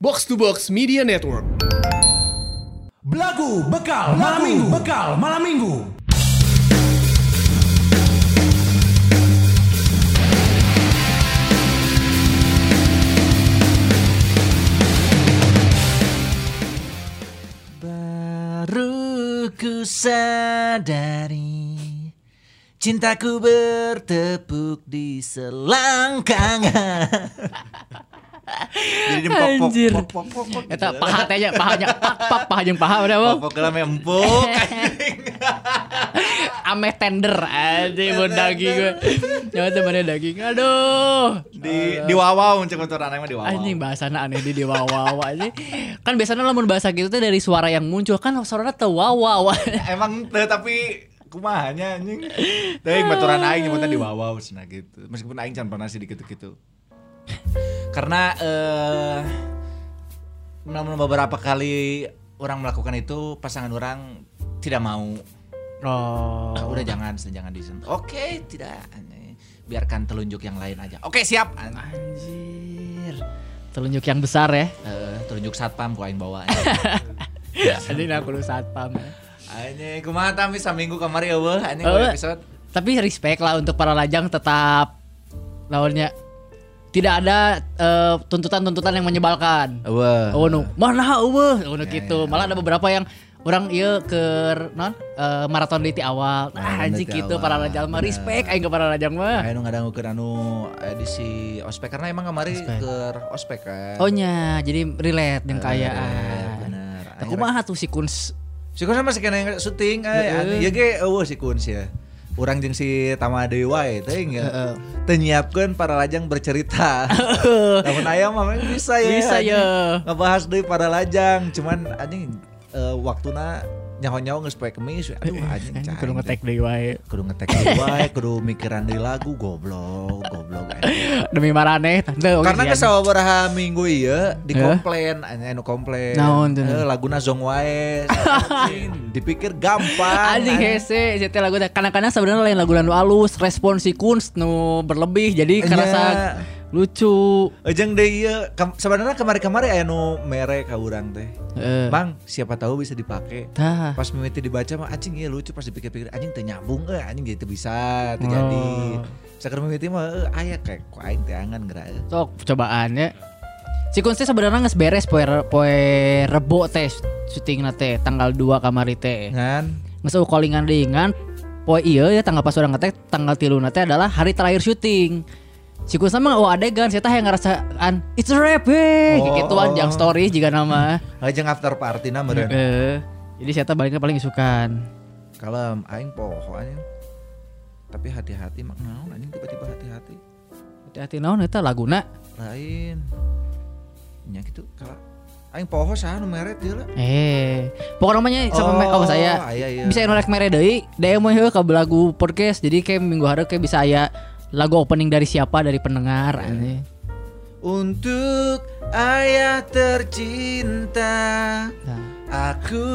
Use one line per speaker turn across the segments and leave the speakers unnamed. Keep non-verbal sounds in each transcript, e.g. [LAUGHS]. Box to Box Media Network.
Belagu bekal malam minggu. Bekal malam minggu.
Baru ku sadari Cintaku bertepuk di [LAUGHS] selangkangan Jadi pop pop
Anjir.
pop pop pop pop
Eta paha tanya, pahanya pak pak paha jeung paha udah bang.
Pop pop gelam empuk
Ameh tender aja mau daging gue. Nyawa temannya daging. Aduh.
Di di wawaw cek motor anak mah di wawaw
Anjing bahasana aneh di di wawawa aja. Kan biasanya lamun bahasa gitu tuh dari suara yang muncul kan suaranya teu wawawa.
Emang teu tapi kumahanya anjing Tapi baturan aing nyebutnya di wawaw cenah gitu Meskipun aing can pernah sih di gitu-gitu Karena eh namun beberapa kali orang melakukan itu pasangan orang tidak mau
Oh.
Ah, udah jangan jangan disentuh oke tidak biarkan telunjuk yang lain aja oke siap An-
Anjir. Telunjuk yang besar ya.
Eh, telunjuk satpam ku aing bawa
Anjing aku lu satpam. ya.
anjing kumaha tapi saminggu kamari eueuh anjing
Eueuh.
ku episode
Tapi respect lah untuk para lajang tetap lawannya tidak ada eh, tuntutan-tuntutan yang menyebalkan.
eueuh
Oh no, mana eueuh,
Ya,
ngono gitu. Malah ada beberapa yang orang ieu ke non eh, maraton deui ti awal.
Maraton
Ah anjing
deui Nah, ti
kitu
awal,
para lajang mah
bener.
respect aing ke para lajang mah.
Ayo nu ngadangukeun anu edisi ospek karena emang kamari
Ospek.
ke ospek eh. kan.
Oh nya, jadi relate
Eh,
jeung kaayaan.
bener.
Tah kumaha tuh si Kuns?
Si Kun sama si kena syuting
Heeh.
eh ya ge eueuh si Kun ya. Urang jeung si Tama Dewi wae teuing
Heeh.
ya. Teu nyiapkeun para lajang bercerita. Lamun aya mah memang bisa ya.
Bisa
anjing.
ya.
Ngebahas deui para lajang, cuman anjing eh, waktuna nyaho-nyaho geus poe kemis. Aduh anjing
Anjing
cai.
kudu gitu ngetek deui wae. [LAUGHS]
Kudu ngetek deui wae, kudu mikiran deui lagu goblok,
[LAUGHS]
goblok anjing.
Demi marane oh, iya. tah teu oge
Karena
sian.
ke sababaraha minggu iya dikomplain, anya anu komplain.
Naon tuh?
Eh, laguna zong
[LAUGHS]
wae. anjing. Dipikir gampang.
Anjing hese, jadi lagu teh. kadang-kadang sebenarnya lain lagu lagu alus, respon si Kuns nu berlebih, jadi
Enya.
kerasa lucu.
Ejeng deh iya, Kam- sebenarnya kemarin-kemarin aya nu mere ka urang teh.
Eh. Ah.
Bang, siapa tahu bisa dipake.
Tah.
Pas mimiti dibaca mah anjing iya lucu pas dipikir-pikir anjing teu nyambung eh anjing jadi bisa
Oh.
terjadi. Saker mimiti mah eh, aya kayak ku aing teh angan geura eh.
Sok cobaannya. Si Kunz teh sebenarnya nges beres poe poe rebo teh syutingna teh tanggal 2 kamari teh.
Ngan
Nges ukolingan deingan poe iya ya tanggal pas urang ngetek tanggal 3 teh adalah hari terakhir syuting. Si Kunz mah oh adegan saya teh yang ngerasaan it's a wrap we
Oh.
gituan yang story jika nama.
ejeng Eh, after party na meureun.
Heeh. Jadi saya teh baliknya paling isukan.
Kalem aing poho anjing. Tapi hati-hati mak naon anjing tiba-tiba hati-hati.
Hati-hati naon eta laguna.
Lain. Nya gitu kala aing poho saha nu mere dieu lah.
Eh, pokoknya namanya sama me- oh, saya.
Iya, iya.
bisa nolak mere deui daya mah heuh ka ya, lagu podcast jadi kayak minggu hari kayak bisa aya lagu opening dari siapa dari pendengar
Iya.
aneh.
Untuk ayah tercinta
Nah.
Aku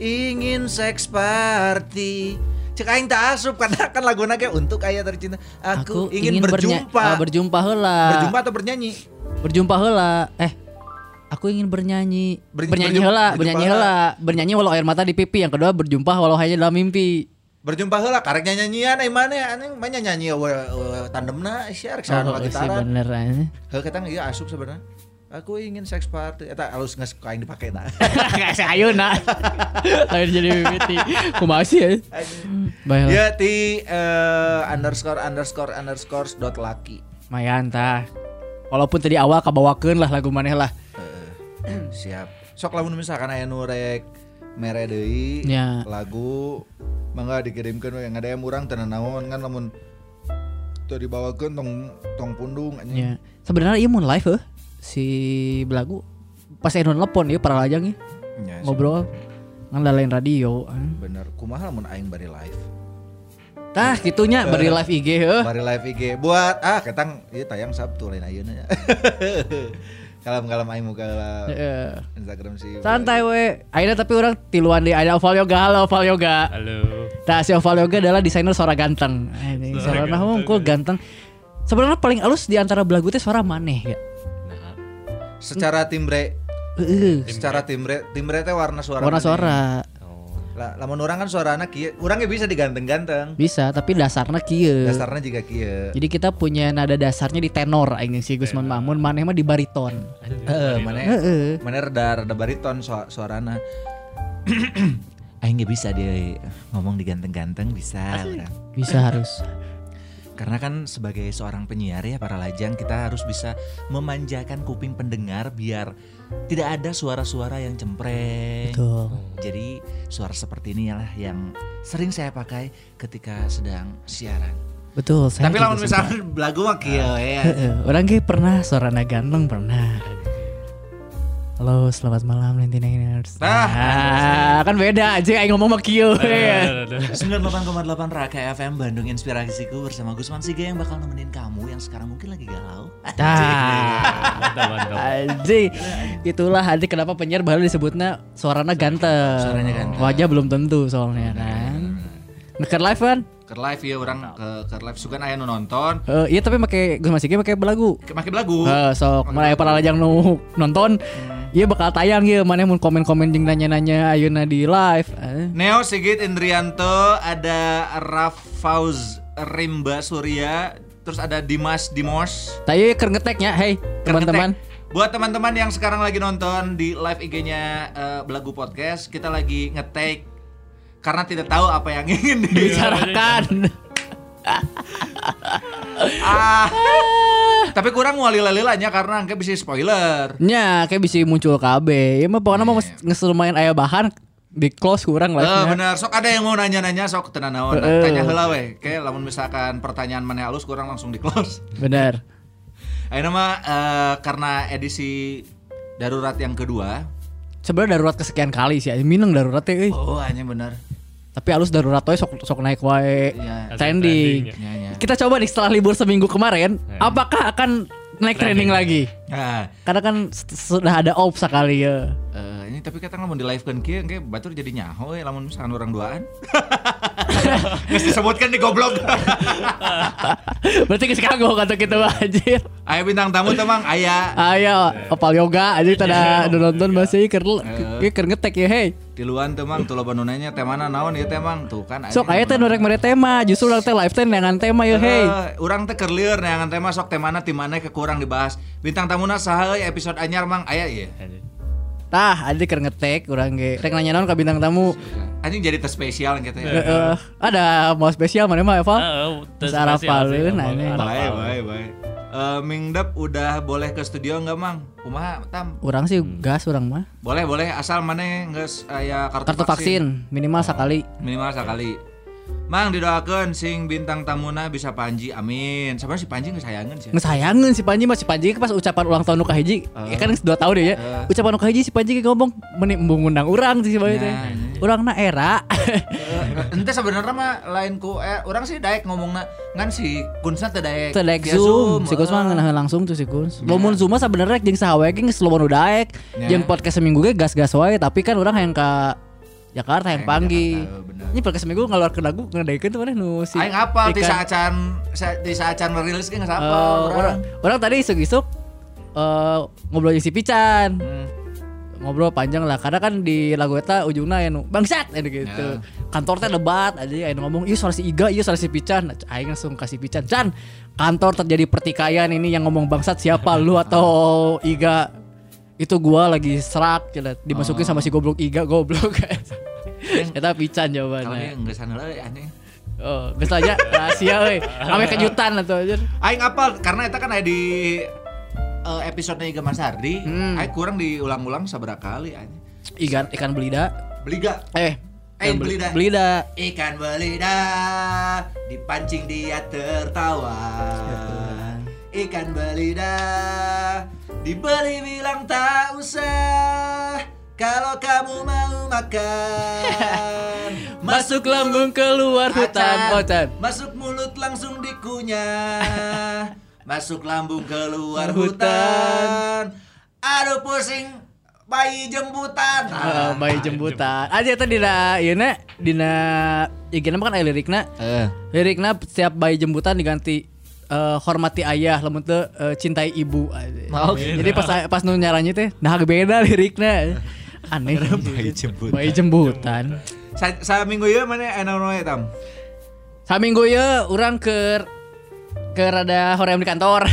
ingin sex party Cek aing tak asup [LAUGHS] karena kan laguna ge untuk ayah tercinta Aku, ingin,
bernya-
berjumpa
ah, berjumpa heula
Berjumpa atau bernyanyi?
berjumpa heula eh aku ingin bernyanyi
Ber-
bernyanyi
berjum-
heula
berjumpa
bernyanyi
heula.
heula bernyanyi walau air mata di pipi yang kedua berjumpa walau hanya dalam mimpi
Berjumpa heula karek nyanyian ai mana ya? anjing mah nyanyi eh, we, we, tandemna sia rek saha
Oh,
nu lagi
sih,
taran.
bener
[LAUGHS]
aneh.
Heuh kita ieu asup sebenarnya. Aku ingin sex party eta alus geus kain
[LAUGHS]
dipake tah.
kayak sayuna lain jadi mimpi kumaha sih ya Baiklah.
Ya di eh, underscore underscore underscore dot laki.
Mayan tah. Walaupun tadi awal kabawakeun lah lagu maneh lah.
Eh, [CLEARS THROAT] siap. Sok lamun misalkan aya nu rek mere deui
Ya.
lagu mangga dikirimkeun we yang ada yang urang teu naon kan lamun teu dibawakeun tong tong pundung anjing.
Ya. Sebenarnya ieu mun live heuh si Belagu pas Enon telepon ya para lajang ya
Ya, sih.
ngobrol ngandalain radio.
Bener. Kumaha lamun aing bari live.
Tah kitunya
Eh.
beri live eh. IG heuh.
Bari live IG buat ah ketang ieu tayang Sabtu lain [LAUGHS] ayeuna. Kalam-kalam aing muka
Heeh.
Instagram si
Santai we. Akhirnya tapi orang tiluan deh ada Oval Yoga. Halo Oval Yoga.
Halo.
Nah si Oval Yoga adalah desainer suara ganteng. Ini
Suara
suara nah wong, kok ganteng. Sebenarnya paling halus di antara Belagu teh suara maneh ya.
Nah,
secara timbre
Heeh.
secara timbre timbre teh warna suara
warna
mana?
suara
lah lamun orang kan suarana kieu urangnya bisa diganteng-ganteng
bisa tapi dasarnya kieu
dasarnya juga kieu
jadi kita punya nada dasarnya di tenor aing si Gusman Mamun maneh mah di bariton eh.
heeh Eh, mana ya?
Heeh.
mana rada rada bariton sua- suarana [CLEARS THROAT] aing nggak bisa dia ngomong diganteng-ganteng bisa orang
bisa harus
Karena kan sebagai seorang penyiar ya para lajang kita harus bisa memanjakan kuping pendengar biar tidak ada suara-suara yang cempreng.
Betul.
Jadi suara seperti ini lah yang sering saya pakai ketika sedang siaran.
betul saya
Tapi
juga
lawan
suka.
misalnya lagu mah kieu ya.
Heeh, orang ge pernah suarana ganteng pernah Halo, selamat malam 99ers.
Nah.
Ah, kan beda aja aing ngomong sama Kyo. ya.
98,8 Raka FM Bandung Inspirasiku bersama Gusman Siga yang bakal nemenin kamu yang sekarang mungkin lagi galau.
Tah. Anjing. Itulah hadi kenapa penyiar baru disebutnya suaranya ganteng.
Suaranya ganteng.
Wajah belum tentu soalnya kan. Ngeker live kan?
Ke live ya orang ke, ke live sugan aya nu nonton.
Eh, iya tapi pakai Gus Masigi pakai belagu.
Makin lagu.
Heeh, Eh, sok mulai para lajang nu nonton.
Hmm.
Iya bakal tayang ya mana mun komen-komen jeung nanya-nanya ayeuna di live. Eh,
Neo Sigit Indrianto, ada Rafauz Rimba Surya, terus ada Dimas Dimos.
Tah ieu keur ngeteknya, hey teman-teman.
Buat teman-teman yang sekarang lagi nonton di live IG-nya eh, Belagu Podcast, kita lagi nge-take karena tidak tahu apa yang [LAUGHS]
Iya,
ingin dibicarakan.
Bicarakan.
Iya, Ah. Tapi kurang walila-lilanya karena angka bisa spoiler.
Nya kayak bisa muncul KB. Ya mah pokoknya mah geus lumayan aya bahan di close kurang
Iya.
Iya.
Eh
live nya.
benar, sok ada yang mau nanya-nanya sok tenan naon.
Heeh.
Tanya heula we. Kayak lamun misalkan pertanyaan mana halus kurang langsung di [LAUGHS] close.
Bener.
Akhirnya mah eh, karena edisi darurat yang kedua.
Sebenarnya darurat kesekian kali sih. anjing. Mineng darurat teh euy.
Oh, hanya benar.
Tapi halus darurat we sok sok naik wae.
Iya.
Trending.
Iya, iya.
Kita coba nih setelah libur seminggu kemarin, apakah akan naik trending lagi?
Nah,
Karena kan s- sudah ada op sekali ya. [LAUGHS]
eh, ini tapi kata lamun di live kan kieu engke batur jadi nyaho we lamun misalkan orang [LAUGHS] duaan. Geus disebutkan di goblok.
Berarti geus kagok kata kita mah anjir.
[LAUGHS] Aya bintang tamu teh Mang, aya
Ayo, opal yoga anjir tada nu nonton masih keur ieu keur ngetek ya hey.
tiluan teh Mang, tuh loba nu nanya teh mana naon ieu teh Mang. Tuh kan
Sok aya teh nu rek mere tema, justru urang teh live teh neangan tema ya hey.
Eh, urang teh keur lieur neangan teh mah sok teh mana tim mana kekurang dibahas. Bintang tamuna saha euy episode anyar Mang, aya ieu.
Tah, anjir keur ngetek urang ge. Rek nanya naon ka bintang tamu.
Anjing jadi teh spesial gitu ya.
Heeh. ada mau spesial mana mah Eval? Terus
Terserah
apalin, aneh.
Baik, baik, baik. Eh, Mingdep udah boleh ke studio nggak mang? Kumaha tam?
Urang sih gas urang mah.
Boleh, boleh. Asal mana nggak aya kartu,
Kartu vaksin minimal sekali.
Minimal sekali. Mang didoakan sing bintang tamuna bisa Panji, amin. Sama si Panji nggak sayangan sih.
Ngesayangeun Iya. si Panji mah si Panji pas ucapan ulang tahun nu kahiji, ya kan 2 tahun ya. ya. Ucapan nu kahiji si Panji ge ngomong meni mengundang urang sih si Panji teh.
Nah, iya.
Urang na era.
Eh, Ente sebenarnya mah lain ku, eh, orang sih daek ngomongna ngan si Kunsna teh daek.
Teu daek
via Iya.
Zoom, si Kus
eh.
mah ngeunaheun langsung tuh si Kus. Lamun Zoom mah sabenernya jeung saha wae ge geus loba nu daek.
Ya.
Jeung podcast seminggu ge gas-gas wae, tapi kan urang hayang ka Jakarta yang
Hayang ka
panggi.
Jakarta, bener.
Ini podcast seminggu ngeluarkeun lagu ngadaikeun tuh mana nu si
Aing apal di
Ikan.
saacan sa- di saacan rilis ge nggak
Eh,
apal
orang,
orang.
orang tadi isuk-isuk eh, ngobrol jeung si Pican.
Hmm.
ngobrol panjang lah karena kan di lagu eta ujungnya ya nu bangsat ya nu gitu
Ya.
kantor teh debat aja ya nu ngomong iya soal si Iga iya soal si Pican aing langsung kasih Pican Can kantor terjadi pertikaian ini yang ngomong bangsat siapa lu atau Iga itu gua lagi serak gila. dimasukin sama si
Oh.
goblok Iga goblok [LAUGHS] Eta Pican
Kalau dia
jawabannya
nggak sana lah anjing.
oh geus aja rahasia euy ame kejutan atuh anjir
Aing apal karena eta kan aya di eh, episode-nya Iga Mas Ardi,
Hmm.
aing kurang diulang-ulang sabara kali anjing.
ikan ikan belida
Beliga
eh
Eh,
ikan bel-
belida.
belida
ikan belida dipancing dia tertawa. Ikan belida dibeli bilang tak usah kalau kamu mau [LAUGHS] makan.
masuk lambung keluar hutan ocan
Masuk mulut langsung dikunyah. Masuk lambung keluar
Hutan.
hutan. Aduh pusing bayi jembutan.
Heeh, bayi jembutan. Ah, Aja tadi dina ieu Eh. dina IG-na mah kan aya lirikna. Lirikna setiap bayi jembutan diganti eh, hormati ayah, lamun teu eh, cintai ibu.
Oke.
Jadi pas pas nu nyarannya teh nah beda [LAUGHS] liriknya. Aneh.
Bayi jembut.
Bayi jembutan.
Sa, sa minggu ya mana enak noe tam.
Saminggu ya orang ke ke rada hoream di
[LAUGHS]
kantor.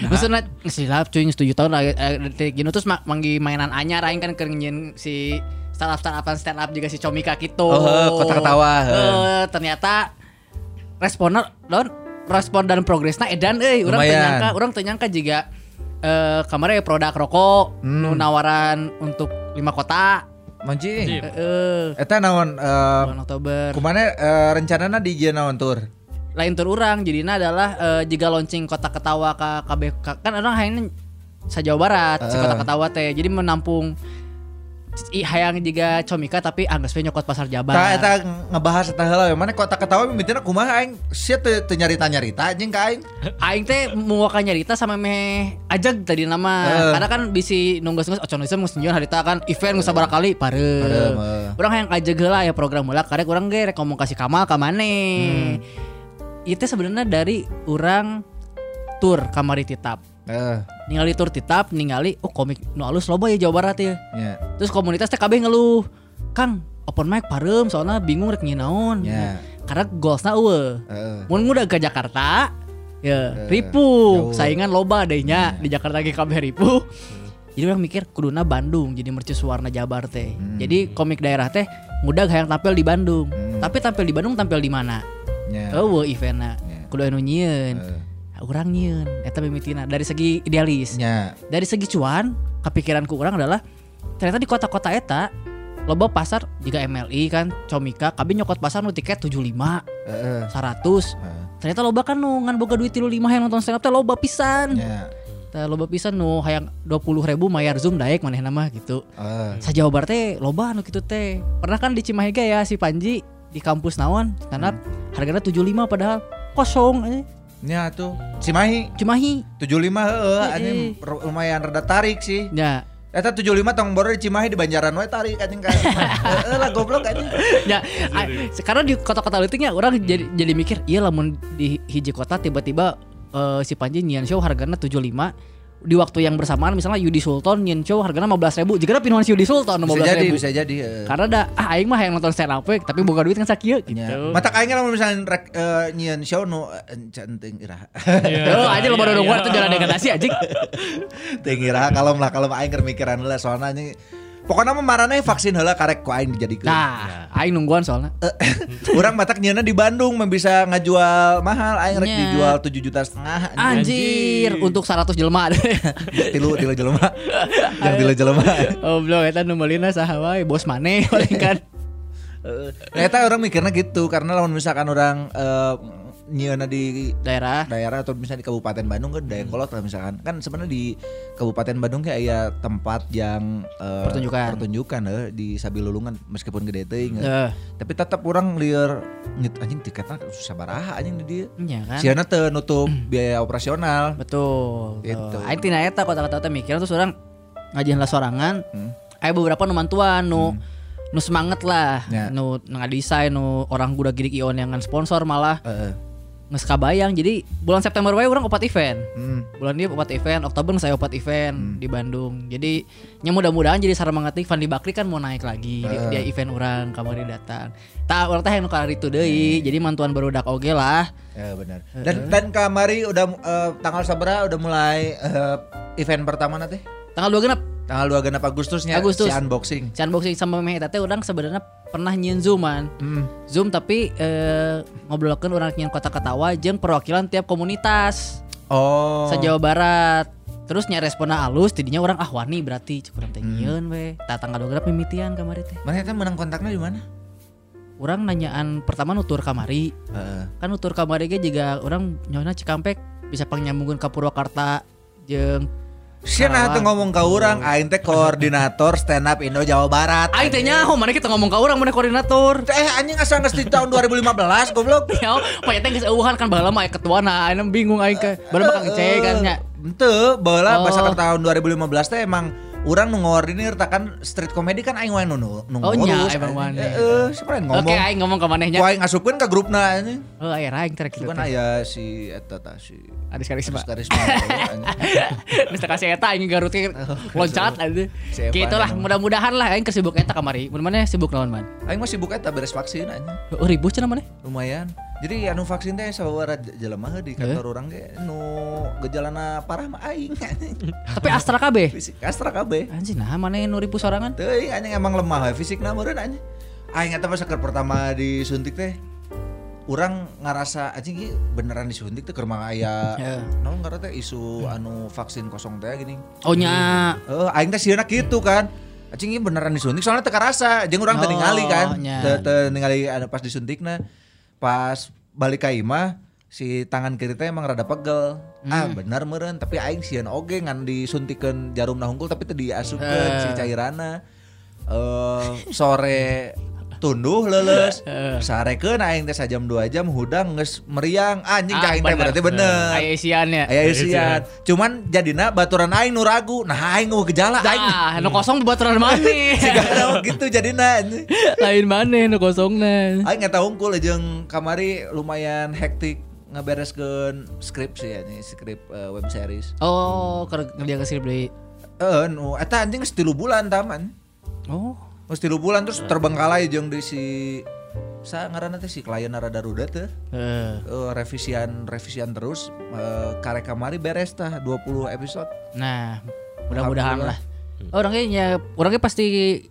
Nah.
Maksudnya silap cuy setuju tahun lagi eh, detik gini terus ma- manggi mainan anyar aing kan keringin si startup startupan stand up juga si Comika gitu.
Oh, he, kotak ketawa, he.
Eh, ternyata responer don respon dan progresnya edan euy urang teu
Lumayan.
nyangka urang teu nyangka juga eh kemarin ya produk rokok
Hmm.
nu nawaran untuk lima kota
Manji.
Manjing.
eh
Eta naon eh,
eh, bulan Oktober
kumana eh, rencanana di jieun naon tur?
lain tur urang jadinya adalah eh, jika launching kotak ketawa ke KB kan orang hayangnya sa Jawa Barat si
Heeh.
kotak ketawa teh jadi menampung i hayang juga comika tapi anggas we nyokot pasar Jabar
Tah eta ngebahas eta heula we mana kota ketawa mimitinya kumaha aing sia teu teu nyarita-nyarita anjing ka aing.
aing teh muaka nyarita sama meh ajag tadi nama
Heeh.
karena kan bisi nunggas-nunggas oconisem geus nyieun harita kan event geus sabaraha kali
Pareum,
pareum
heeh.
urang hayang ajag heula aya program heula karek urang ge rek ngomong ka si Kamal ka maneh itu sebenarnya dari urang tur kamari titap
Heeh.
ningali tur titap ningali oh komik nu alus loba ya Jawa Barat ya
Nya.
terus komunitas TKB ngeluh Kang open mic parem soalnya bingung rek nginaon
Ya.
karena goalsna eueuh
Heeh.
mun muda ke Jakarta ya
Eh,
ripuh
jauh. Iya.
saingan loba dehnya di Jakarta ge kabeh ripuh jadi orang mikir kuduna Bandung jadi mercusuarna Jabar teh jadi komik daerah teh muda hayang tampil di Bandung
Hmm.
tapi tampil di Bandung tampil di mana
Nya.
eueuh eventna
Ya.
kudu anu nyieun
Heeh.
urang nyieun eta mimitina dari segi idealis
Nya.
dari segi cuan kepikiranku orang adalah ternyata di kota-kota eta loba pasar juga MLI kan comika kabin nyokot pasar nu tiket 75
Heeh.
100
Heeh.
ternyata loba kan nu ngan boga duit 35 yang nonton stand up teh loba pisan
Nya.
Teh loba pisan nu hayang 20 ribu mayar zoom daek manehna mah gitu
Heeh.
sa Jawa Barat teh loba anu gitu teh pernah kan di Cimahi ge ya si Panji di kampus naon stand up
Hmm.
harganya 75 padahal kosong eh.
Nya tuh Cimahi
Cimahi
75 heeh
Eh,
anjing
eh.
ru- lumayan rada tarik sih.
ya
Eta 75 tong baru di Cimahi di Banjaran we tarik anjing kan. Heeh lah goblok anjing. [LAUGHS]
ya a- sekarang di kota-kota leutiknya orang jadi jadi mikir iya lamun di hiji kota tiba-tiba eh, si Panji nyian show harganya 75 di waktu yang bersamaan misalnya Yudi Sultan nyian show hargana 15 ribu jika pinuhan si Yudi Sultan 15
Bisa jadi,
ribu
bisa jadi. heeh.
karena ada ah aing mah yang nonton stand up we, tapi boga duit kan sakieu gitu
Nya. Mata aing lamun misalnya rek eh, nyieun show nu canting iraha. [LAUGHS] Iya,
Oh, aja lo baru nungguan itu jalan degradasi aja.
Teuing iraha kalem lah kalem aing keur mikiran heula soalna anjing. Pokoknya mah marana vaksin heula karek ku aing dijadikeun.
Nah, aing nungguan soalnya.
Eh, Urang matak nyieunna di Bandung mah bisa ngajual mahal aing rek
Nya.
dijual 7 juta setengah anjing.
Eh, Anjir, untuk 100 jelema. [LAUGHS]
Tilu tilu jelema. Yang tilu jelema.
oh, belum eta nu meulina saha wae, bos maneh paling
[LAUGHS]
kan.
Nah, eta orang mikirnya gitu karena lamun misalkan orang eh, nyieunna di
Daerah
daerah atau misalnya di Kabupaten Bandung kan
Hmm.
dayang kolot lah misalkan kan sebenarnya di Kabupaten Bandung kayak ya tempat yang eh,
Pertunjukan.
pertunjukan eh, di Sabilulungan meskipun gede teuing eh.
Heeh.
tapi tetap orang liar nyet anjing tiketnya susah baraha anjing di dia
Iya kan?
Siana teu nutup
[CLEARS THROAT]
biaya operasional
Betul.
Gitu.
Aing tina eta kota-kota teh mikir terus orang ngajian lah sorangan.
Hmm.
Aya beberapa nu mantuan nu nu semangat lah,
Ya.
nu nu ngadesain nu orang guda gidik ion yang ngan sponsor malah
Heeh.
geus kabayang. Jadi bulan September wae orang opat event.
Hmm.
Bulan ini opat event, Oktober saya opat event di Bandung. Jadi nya mudah-mudahan jadi sarang mengetik Fandi Bakri kan mau naik lagi di,
Ah.
dia event orang kamari datang. Tah urang teh nu kali itu deui.
Hmm.
Jadi mantuan barudak oge lah.
Ya benar. Dan dan kamari udah eh, tanggal sabra udah mulai eh, event pertama nanti
Tanggal 2 genep
tanggal 2 genap Agustusnya
Agustus.
si unboxing.
Si unboxing sama Meh Eta teh orang sebenarnya pernah nyin zooman.
Hmm.
Zoom tapi eh, ngobrolkeun urang nyin kota ketawa jeung perwakilan tiap komunitas
Oh.
sa Jawa Barat. Terus nya responnya alus, tidinya orang ah wani berarti cek urang teh nyieun we. Tah tanggal 2 genep mimitian kamari teh.
Mana itu menang kontaknya di mana?
Urang nanyaan pertama nutur kamari.
Heeh.
Kan nutur kamari ge juga orang nyona Cikampek bisa pangnyambungkeun ka Purwakarta jeung
Siapa
Karawang.
tuh ngomong ke orang, aing teh koordinator stand up Indo Jawa Barat.
Aing teh nyaho mana kita ngomong ka urang mana koordinator.
Eh anjing asal nges di tahun 2015 goblok.
Ya, pokoknya teh geus eueuhan kan baheula mah aya ketua nah, ayeuna bingung aing ke. Baru bakal ngecek kan nya.
Ente,
Oh.
bola pas akan tahun 2015 teh emang orang nu ngawarinir takan street comedy kan aing wae nu nu nu
Oh, nya,
ngurus,
emang
anjing.
maneh.
Heeh, siapa yang ngomong
Oke, aing ngomong ke manehnya.
ku aing ngasupkeun ka grupna anjing
Oh, air aing terakhir
cuman
kita.
aya si eta tah si
Ada sekali [LAUGHS] sih, Pak.
Karisma
[LAUGHS]
anjing.
Bisa kasih eta aing garut loncat aja.
Oh, Si Evan
Gitu lah,
emang.
mudah-mudahan lah aing kesibuk eta kamari. Mun maneh sibuk naon man?
aing mah sibuk eta beres vaksin anjing
Oh, ribu cenah maneh.
lumayan jadi anu vaksin teh sababaraha jelema heuh di kantor urang ge nu gejalana parah mah aing [LAUGHS] anjing.
Tapi Astra KB.
fisik Astra kabeh
Anjing nah maneh nu ribu sorangan?
Teu aing anjing emang lemah we fisikna meureun anjing. Aing eta pas keur pertama disuntik teh urang ngarasa anjing ieu beneran disuntik teh keur mah aya
Heeh.
naon ngaran teh isu anu vaksin kosong teh gini.
Oh nya.
Heeh, Eh, aing teh sieuna kitu kan. Anjing ieu beneran disuntik soalnya teu karasa jeung urang teu
Oh,
ningali kan.
nya.
Teu teu ningali anu pas disuntikna. Pas balik ka imah si tangan kiri teh emang rada pegel.
Hmm.
Ah bener meureun tapi aing sieun oge ngan disuntikan jarum nahungkul tapi teu diasupkeun si cairanna. Eh sore tunduh leuleus sarekeun aing teh sajam dua jam hudang geus meriang anjing
Ah,
ah, aing teh
bener.
berarti bener.
Aya isian
[LAUGHS]
ya.
Aya isian. Cuman jadina baturan aing nu ragu. Nah aing nu gejala aing. [LAUGHS]
Ah, nu kosong bebaturan maneh.
Sigana gitu jadina. anjing.
Lain maneh nu kosongna.
Aing eta hungkul jeung kamari lumayan hektik ngebereskeun skrip sih ya, ini skrip eh, web series.
Oh, keur ngerjakeun skrip deui.
Eh nu eta anjing geus 3 bulan taman.
Oh.
Geus 3 bulan terus terbengkalai jeung di si sa ngaranna teh si klien rada ruda teh.
Heeh.
Eh, revisian revisian terus eh, karek kamari beres tah 20 episode.
Nah, mudah-mudahan lah. Orangnya ya, orangnya pasti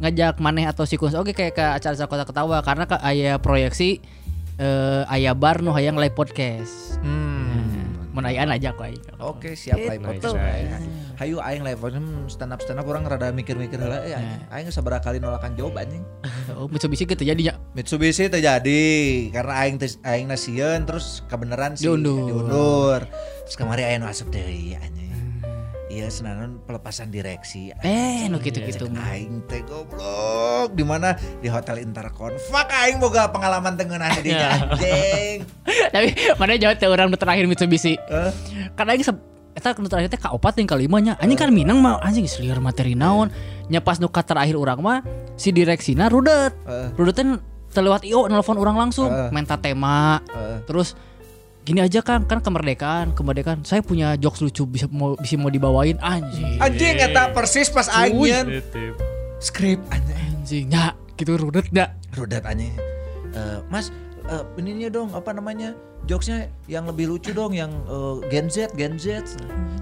ngajak maneh atau siklus oke kayak ke acara acara kota ketawa karena ke aya proyeksi eh aya bar nu hayang live podcast.
Hmm.
Mun aya aja kok aing.
Oke siap live podcast aing. Hayu aing live podcast hmm, stand up stand up orang rada mikir-mikir heula eh anjing. Aing sabaraha kali nolakan jawab anjing.
Oh, Mitsubishi gitu jadi ya.
Mitsubishi terjadi karena aing tes aing nasieun terus kebenaran sih
Diundur.
diundur. Terus kemarin aing nu asup deui anjing.
Hmm.
Iya senanon pelepasan direksi.
Eh, nu gitu-gitu.
Iya,
mah.
Aing teh goblok di mana di hotel Intercon. Fuck aing boga pengalaman tengenah
[LAUGHS]
di dinya anjing.
Tapi mana jauh teh orang nu terakhir Mitsubishi.
Eh,
Karena aing sep- eta nu terakhir teh ka opat jeung kalima nya. Anjing kan Minang mah anjing selieur materi naon. Nya pas nu ka terakhir urang mah si direksina rudet.
Heeh.
Rudet teh telewat IO nelpon urang langsung,
Heeh.
minta tema.
Heeh.
Terus gini aja kan kan kemerdekaan, kemerdekaan. Saya punya jokes lucu bisa mau bisa mau dibawain anjing.
Anjing eta persis pas aing
Cuy.
nyen. Skrip anjing.
Anjing nya gitu rudet dah.
Rudat aneh. Eh, mas, eh, ininya dong apa namanya? Jokesnya yang lebih lucu dong yang eh, Gen Z, Gen Z.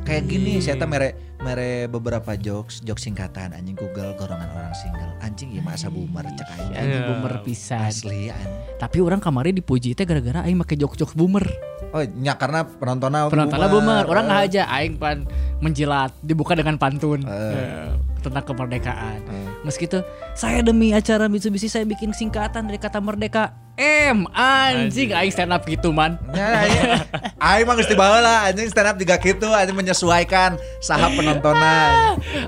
Kayak
Hmm.
gini, saya tuh mere mere beberapa jokes, jokes singkatan anjing Google gorongan orang single. Anjing ya masa boomer cek aing.
Anjing Iya, boomer pisan.
Iya. Asli anjing.
Tapi orang kamari dipuji teh gara-gara aing make jokes-jokes boomer.
Oh, nya karena penontonnya
Penontonnya boomer, orang nggak aja aing pan menjilat dibuka dengan pantun
Eh.
eh, tentang kemerdekaan. Meski itu saya demi acara Mitsubishi saya bikin singkatan dari kata merdeka M anjing aing stand up gitu man.
Ya, ya. Aing mah geus lah anjing stand up juga gitu anjing menyesuaikan sahab
Ah.
penontonan.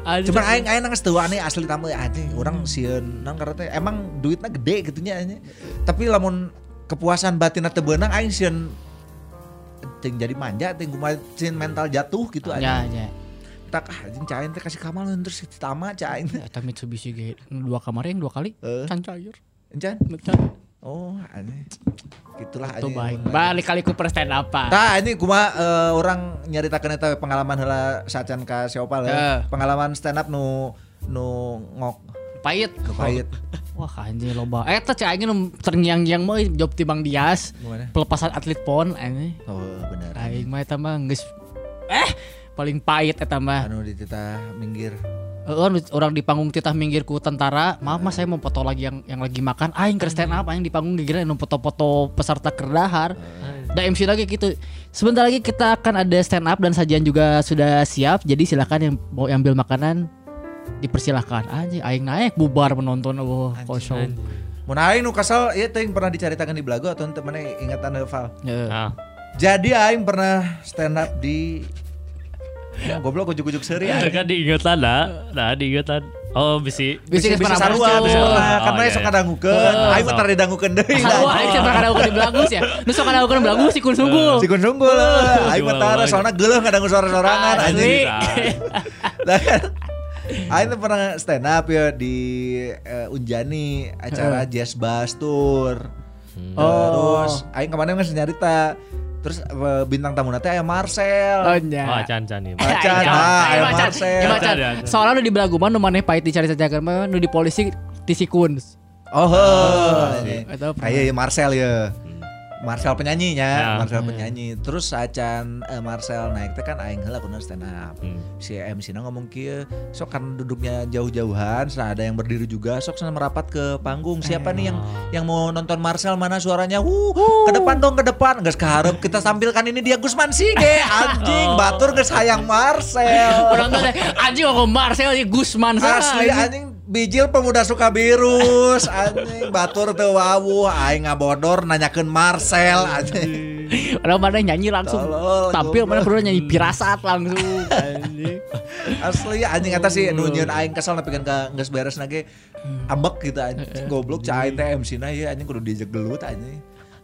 Anjing.
Cuman aing aing nangis tuh aneh asli tamu ya, anjing orang sieun nang karena teh emang duitnya gede gitunya anjing. Tapi lamun kepuasan batinna teu beunang aing sieun ting jadi manja ting kumaha sieun mental jatuh gitu
Ya
anjing.
ya.
Tak ah, anjing cain teh kasih kamal terus si tama cain.
Eta Mitsubishi ge dua kamar yang dua kali.
Eh.
Can cair.
Encan.
Can-
Oh, anjing. Gitulah
Tuh baik.
anjing.
Balik kali ku per stand up
Tah ini kuma eh, orang nyaritakeun eta pengalaman heula sacan ka Siopal
Heeh.
ya. Pengalaman stand up nu nu ngok
Pahit.
kepait.
Wah anjing loba. Eta cek aing nu terngiang-ngiang mah job tibang Dias.
Gimana?
Pelepasan atlet pon anjing.
Oh, bener.
Aing mah eta mah geus eh paling pahit eta
Ah.
mah.
Anu dititah minggir.
Eueun orang di panggung titah minggirku tentara. Maaf mas saya mau foto lagi yang yang lagi makan. Aing keur stand up aing di panggung gegeran anu foto-foto peserta kerdahar. Da MC lagi gitu. Sebentar lagi kita akan ada stand up dan sajian juga sudah siap. Jadi silakan yang mau ambil makanan dipersilahkan anjing aing naik bubar penonton wah kosong
Mun aing nu kasal ieu teh yang pernah dicaritakeun di Blago atau teu mana ingatan hafal.
Heeh.
Nah,
Jadi aing pernah stand up di Ya, goblok ujuk-ujuk seuri anjing.
kan diingatan lah, nah diingatan. Oh, bisi.
Bisi
Bisa
pernah
sarua,
muncul.
bisa pernah. Kan
Oh,
mana sok
iya, iya.
ngadangukeun.
Oh.
Aing mah tara didangukeun deui.
Sarua aing teh pernah kadahukeun di Belagus ya. Nu sok kadahukeun di Belagus si kun sungguh.
Sikun sunggul.
Oh,
Aing mah tara
Jual-jual. ah.
soalna geuleuh ngadangu suara-sorangan anjing.
Asli.
Nah,
Lah kan, Aing tuh pernah stand up ya di eh, Unjani acara Jazz Bass Tour. Hmm. Terus aing kemarin ngasih nyarita. Terus eh, bintang tamu nanti aya
Oh,
Marcel.
nya.
Oh, Can-Can ya.
Macan,
Ay,
ah,
ay,
ayo
macan,
Marcel.
Iya,
ay, macan.
Ada, ada.
Soalnya udah di Belaguman nu maneh pahit dicari sajakan mah nu di polisi tisikun.
Oh,
iya. Atau apa?
Ayo ya Marcel ya. Marcel penyanyinya,
Ya.
Marcel penyanyi. Terus acan eh, Marcel naik teh kan aing heula kudu stand up. Si MC na ngomong kieu, sok kan duduknya jauh-jauhan, setelah ada yang berdiri juga, sok sana merapat ke panggung. Siapa nih yang yang mau nonton Marcel mana suaranya? Eh. Wuh, ke depan dong, ke depan. Geus kaharep kita tampilkan ini dia Gusman Sige, anjing, batur geus hayang Marcel.
Orang tuh anjing aku Marcel anjing Gusman sah,
Asli anjing bijil pemuda suka birus [LAUGHS] anjing batur teu wawuh aing ngabodor nanyakeun Marcel anjing.
Orang mana nyanyi langsung
Tolol,
tampil mana
goblok.
perlu nyanyi pirasat langsung
[LAUGHS]
anjing.
Asli anjing eta sih nu nyieun aing kesel nepikeun ka geus beres nage ambek gitu anjing goblok cai teh MC-na ieu anjing kudu diajak gelut anjing.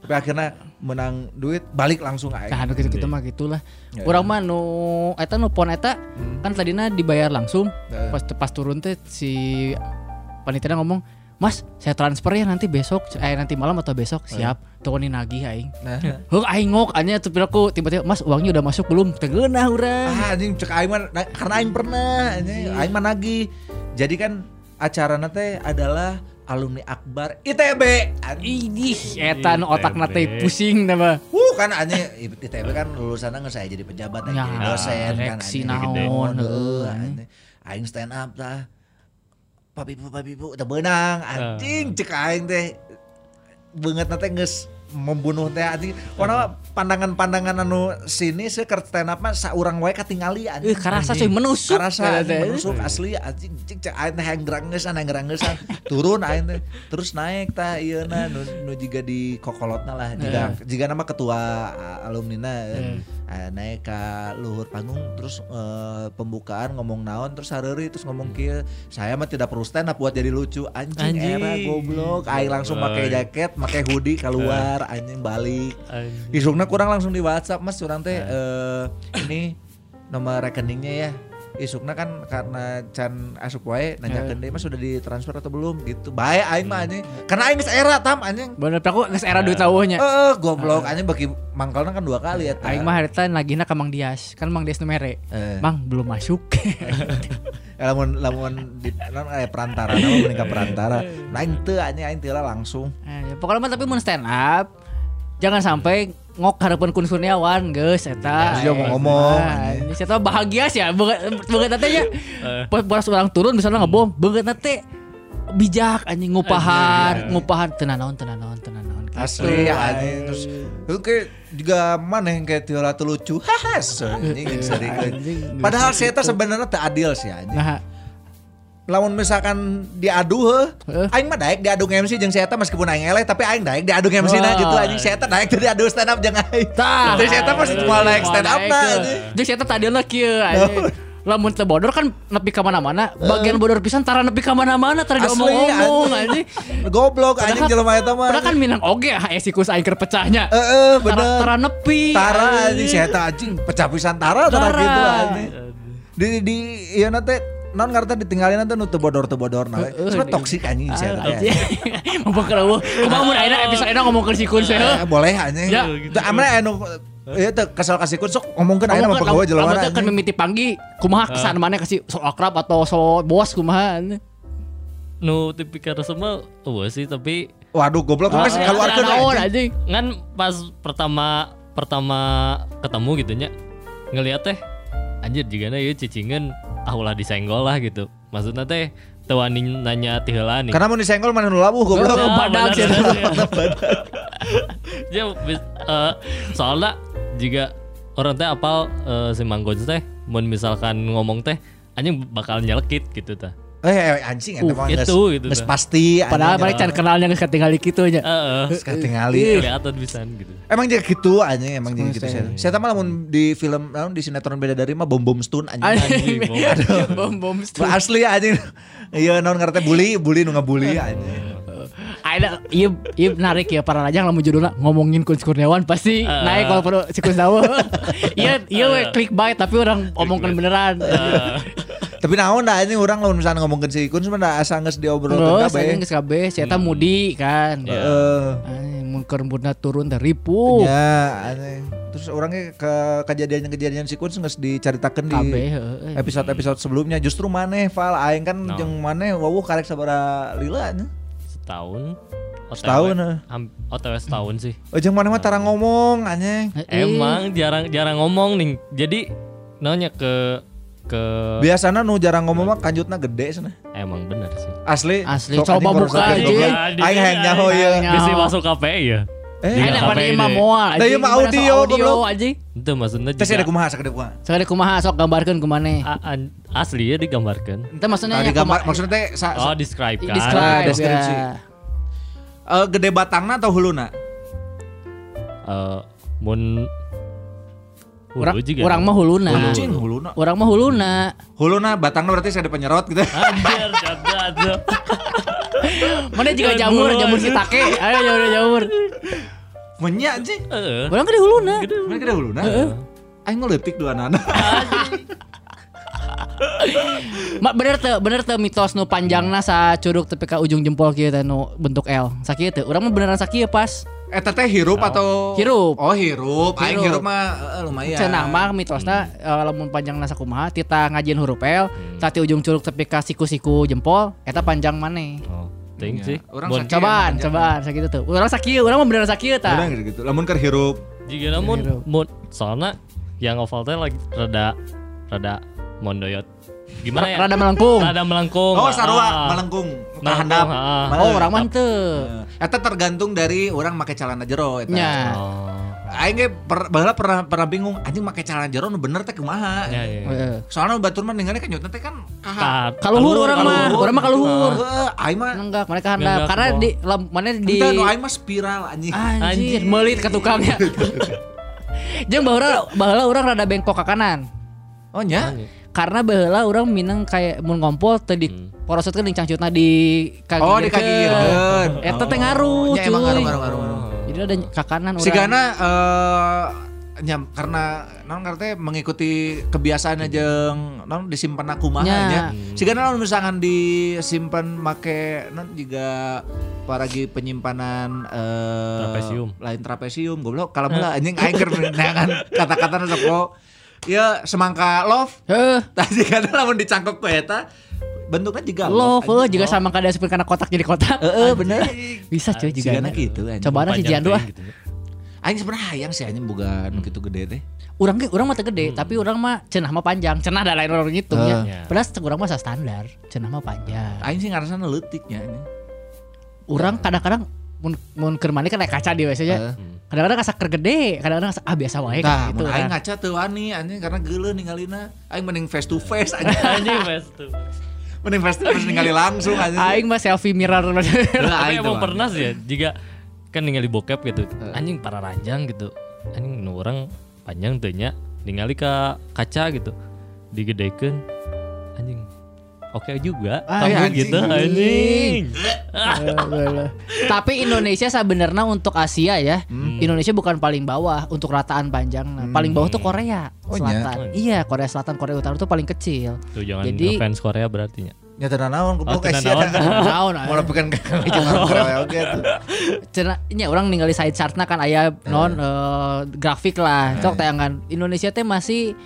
Tapi akhirnya menang duit balik langsung aing.
Nah, gitu gitu mah gitulah.
Ya,
Orang mah nu eta nu pon eta
Hmm.
kan tadinya dibayar langsung.
Heeh.
Pas pas turun teh si panitia ngomong, "Mas, saya transfer ya nanti besok eh nanti malam atau
Oh,
besok."
ya.
Siap. Tuh ini nagih aing.
Nah.
Heuh aing ngok anya tepil aku tiba-tiba, "Mas, uangnya udah masuk belum?" Teu geunah urang.
Ah anjing cek aing mah na- karena aing pernah anjing aing mah nagih. Jadi kan acarana teh adalah alumni Akbar ITB. Anjing.
Idih, eta nu
Ih,
otak nate
tempe.
pusing nama.
Wuh Uh, kan aneh ITB kan lulusannya nggak saya jadi pejabat, aing
Ya,
jadi dosen kan
direksi
aneh.
naon,
Naon,
heuh,
heuh, aneh. Aing stand up tah. Papi pu papi pu teu beunang anjing cek aing teh. Beungeutna teh geus membunuh teh anjing. Karena pandangan-pandangan anu sini sih keur stand up mah saurang wae katingali anjing.
Eh, karasa cuy menusuk.
Karasa
Eta teh.
anjing, menusuk asli anjing cek cek aing teh hayang gerangesan hayang gerangesan turun aing teh terus naik tah ieuna nu, nu jiga di kokolotna lah jiga jiga nama ketua eh, alumni na eh, naik ke luhur panggung terus eh, pembukaan ngomong naon terus hareuri terus ngomong kieu saya mah tidak perlu stand up buat jadi lucu anjing,
Anjing.
era goblok aing langsung pakai
Woi.
jaket pakai hoodie keluar anjing balik Isukna kurang langsung di WhatsApp Mas kurang teh eh, ini nomor rekeningnya ya. Isukna kan karena Chan asup wae nanyakeun deui Mas sudah ditransfer atau belum gitu. Bae aing mah anjing. Karena aing geus era tam anjing.
Bener aku geus era duit tawuhnya.
Heeh, goblok anjing bagi mangkalna kan dua kali ya.
Aing mah harita nagihna ka Mang Dias. Kan Mang Dias nu mere.
Ah. Eh.
Mang belum masuk. [LAUGHS]
lamun lamun di [LAUGHS] non eh, perantara namun meningkat perantara. Nah aing teu anjing aing teu lah langsung.
Eh, Pokoknya mah tapi mun stand up jangan sampai ngok harapan kun kurniawan geus eta. Nah,
Terus dia Iya, mau ngomong.
Ini eta bahagia sih ya. Beungeut teh nya. Pas boras orang turun misalnya ngebom, beungeut teh bijak anjing ngupahan, ngupahan tenan naon tenan naon tenan naon. Gitu.
Asli ya anjing terus Oke, juga mana yang kayak tiola tuh lucu. [LAUGHS] Haha, anjing sering. Padahal saya tuh sebenarnya tak adil sih anjing.
Nah,
Lamun misalkan diadu heh,
Heeh.
aing mah daek diadu MC jeung saya meskipun aing eleh tapi aing daek diadu MC na gitu anjing saya teh daek diadu stand up jeung aing.
Tah.
Terus saya teh pas cuma daek stand up na anjing.
Jadi saya tadi lah kieu anjing. Lamun teu bodor kan nepi ka mana-mana,
Eh.
bagian bodor pisan tara nepi ka mana-mana tara diomong-omong anjing.
Goblok anjing
Padahal-
jelema eta mah.
Padahal kan minang oge HS ikus aing keur pecahnya. Tara,
Heeh, bener.
tara nepi.
Tara anjing saya teh anjing pecah pisan tara tara
Tara.
gitu anjing. Di di iya ieu na teh naon ngarta ditinggalin nanti nu teu bodor-teu na. Cuma toksik anjing saya
Ah,
teh.
iya. Mau kelawuh. Kumaha mun ayeuna episode ayeuna ngomong keur sikun
Eh,
saya.
boleh anjing.
Ya.
Teu amna anu ieu teh kesal kasih kun sok ngomongkeun aya mah pegawai jelema
kan
anjing.
mimiti panggi kumaha kesan mana kasih sok akrab atau sok bos kumaha anjing.
Nu tipikal semua eueuh sih tapi
Waduh goblok geus
Ah,
kaluarkeun
tara naon, anjing.
anjing.
kan pas pertama pertama ketemu gitu nya ngelihat teh anjir iya, jika na ieu cicingan ahulah ah, disenggol lah gitu maksudnya teh tewanin nanya tiheula nih
Karena mau disenggol mana nu labuh goblok.
Nah,
Goblok. badak sih.
[LAUGHS] Ya, bis- eh, soalnya jika orang teh apal eh, si Manggon teh, mun misalkan ngomong teh, anjing bakal nyelekit gitu tah.
Eh eh, anjing eta
Uh,
mah
itu,
geus
gitu
geus
dah.
pasti anjing.
Padahal balik can kenalnya geus ketinggal kitu nya.
Heeh. Iya,
Geus katingali.
kelihatan bisa gitu.
Emang jadi gitu anjing, emang jadi gitu. Saya Saya tahu lamun di film namun di sinetron beda dari mah bom bom stun anjing.
Anjing, bom.
bom bom stun.
Asli anjing. Iya naon ngartanya bully, bully nu ngabully anjing.
Ada iya iya menarik ya para lajang lamun judulnya ngomongin Kun Kurniawan pasti
Ah.
naik kalau
[LAUGHS] Eh.
perlu si Kun Dawa. Iya iya we clickbait tapi orang omongkan beneran.
Tapi naon dah anjing orang lamun misalnya ngomongkeun si Ikun sebenarnya dah asa geus diobrolkeun
Terus
kabeh.
anjing Oh, geus kabeh si eta
Hmm.
mudi kan.
Ya.
Heeh.
Anjing mun keur mudna turun teh ripuh.
Ya, aneh. Terus orangnya ke kejadian-kejadian si Kun geus dicaritakeun di
Kabeh heeh.
episode-episode sebelumnya justru maneh Val aing kan
No.
jeung maneh wawuh karek sabara lila nya.
setahun OTW.
Setahun, eh.
Ham- OTW setahun sih
Oh, jeung maneh mah tara ngomong anjing.
Heeh.
emang jarang jarang ngomong nih jadi nanya ke ke
Biasana nu jarang ngomong mah kanjutna gede cenah.
emang bener sih
Asli.
Asli,
sok
coba
anjing
buka,
korosake,
anjing.
goblok. Aing hayang nyaho ya.
Hayang
bisa
Nyaho.
masuk KPI ya
Eh,
Iya,
Enak
sampai
mana
ini.
mah moal
Nah,
Gimana
iya mah
soal
audio, goblok.
anjing.
itu maksudnya
Tes ada
juga
kumaha sakede kumaha.
Sekarang kumaha sok gambarkeun kumane.
a- an- asli ya digambarkan
Itu maksudnya
Nah,
ya,
digambar
kuma-
maksudnya teh sa, sa-
oh describe kan
describe,
Ah, deskripsi.
ya.
eh, gede batangna atau huluna?
Eh, mun Hulu
Orang,
juga.
orang mah huluna.
Anjing huluna.
Orang mah huluna.
Huluna batangna berarti ada penyerot [LAUGHS] gitu.
Anjir, jatuh, jatuh.
Mana juga
Iya,
jamur,
Aduh,
jamur
anjing.
sitake. Ayo jamur jamur.
Menya anjing.
Heeh.
Orang gede huluna.
Gitu. Mana gede huluna? Aing mah leutik
[LAUGHS]
dua anak
Ma, bener tuh, bener tuh mitos nu panjangna sa curug tepi ka ujung jempol kieu teh nu bentuk L. Sakieu teh. Urang mah beneran sakieu pas.
Eh teteh hirup atau
Hirup.
Oh hirup. Aing
Hirup.
hirup mah eh, lumayan.
Cenah mah mitosna eh, lamun panjangna sakumaha tita ngajian huruf L,
Hmm.
tati ujung curug tepi ka siku-siku jempol eta panjang maneh.
Oh, ting
Iya.
sih.
Orang
Mun-
sakit.
Cobaan,
panjang.
cobaan sakitu tuh. Urang sakieu, urang mah beneran sakieu
Udah
tah.
gitu gitu. Lamun keur hirup.
Jika namun
Hero.
mun soalnya yang oval teh lagi rada rada mondoyot. Gimana
Iya.
ya?
Rada melengkung.
Rada melengkung.
Oh
ah.
sarua melengkung. Muka
Melengkung,
handap.
ah.
Oh, urang mah teu.
Eh, Eta tergantung dari orang make celana jero eta.
Nya.
Oh.
Aing ge per, baheula pernah pernah bingung anjing make celana jero nu bener teh kumaha.
Ya, ya.
Heeh.
Soalnya batur mah ningalnya kenyutna teh kan kaha.
Ka-
Kaluhur orang mah,
kaluhur.
orang mah kaluhur.
Heeh, aing mah
Enggak, mereka handap
Enggak,
karena
kebawah.
di lam- mana di
Entah, nu aing mah spiral anjing.
Anjir,
Anjir.
melit ke
[LAUGHS]
tukangnya. Jeung baheula baheula urang rada bengkok ke kanan.
Oh nya.
Karena baheula urang minang kayak mun ngompol teh di
Hmm.
porosotkeun jeung cangcutna di kaki.
Oh di Oh. kaki irkeun.
Eta teh ngaruh,
Nya, Ya, emang
cuy.
ngaruh, ngaruh, ngaruh, ngaruh.
Jadi ada ke kanan urang.
Sigana eh nyam karena non karena mengikuti kebiasaan aja non disimpan aku
Nya.
mahalnya. Sigana non misalkan disimpan make non juga paragi penyimpanan eh,
Trapesium.
lain trapesium goblok kalau mah
Eh.
anjing aing keur menangan kan? kata-kata nu sok ya semangka love [LAUGHS]
Heuh.
tadi kan lamun dicangkok ku eta bentuknya juga
Love, eh,
Ya, anjing.
juga sama kada sepin karena kotak jadi kotak.
Heeh, bener.
Bisa cuy juga.
Sigana gitu anjing.
Coba si
Panjang
Jandu
teh
ah.
gitu.
Aing sebenarnya hayang sih anjing bukan
Hmm.
gitu gede teh.
Urang ge urang mah teu
Hmm.
gede, tapi urang mah cenah mah panjang. Cenah ada lain orang ngitung ya.
Ah.
Iya.
Padahal teu urang mah sa standar, cenah mah panjang.
Aing sih ngerasa leutiknya ini.
Urang kadang-kadang mun mun keur mandi kan naik kaca di WC nya.
Heeh.
Kadang-kadang asa keur gede, kadang-kadang asa ah biasa wae
Ah. Tah,
kan gitu.
mun aing
kan.
ngaca teu wani anjing karena geuleuh ningalina. Aing mending face to face anjing. [LAUGHS]
Anjing best tuh.
mending face to face ningali langsung anjing.
Aing mah selfie
[LAUGHS]
mirror.
Heeh,
ah,
Tapi
aing teu
emang
wani.
pernah sih ya jika kan ningali bokep gitu.
Eh.
Anjing para ranjang gitu. Anjing nu orang panjang teh nya ningali ka kaca gitu. Digedekeun anjing. Oke juga,
Ah,
Tampil
anjing.
gitu anjing.
Tapi Indonesia sebenarnya untuk Asia ya,
Hmm.
Indonesia bukan paling bawah untuk rataan panjang. Nah, paling bawah tuh Korea
Oh,
Selatan. Iya, Korea Selatan, Korea Utara tuh paling kecil.
Tuh jangan
Jadi-
ngefans Korea berarti nya.
Nya teu naon eh,
Oh,
goblok
teu
Asia.
nanaon.
[LAUGHS] Naon,
Mau
aing.
[LAUGHS] lepekan ke
Ah.
jangan kowe oge tuh.
Cenah nya orang ningali side chartna kan aya non eh, grafik lah. Cok tayangan Indonesia teh masih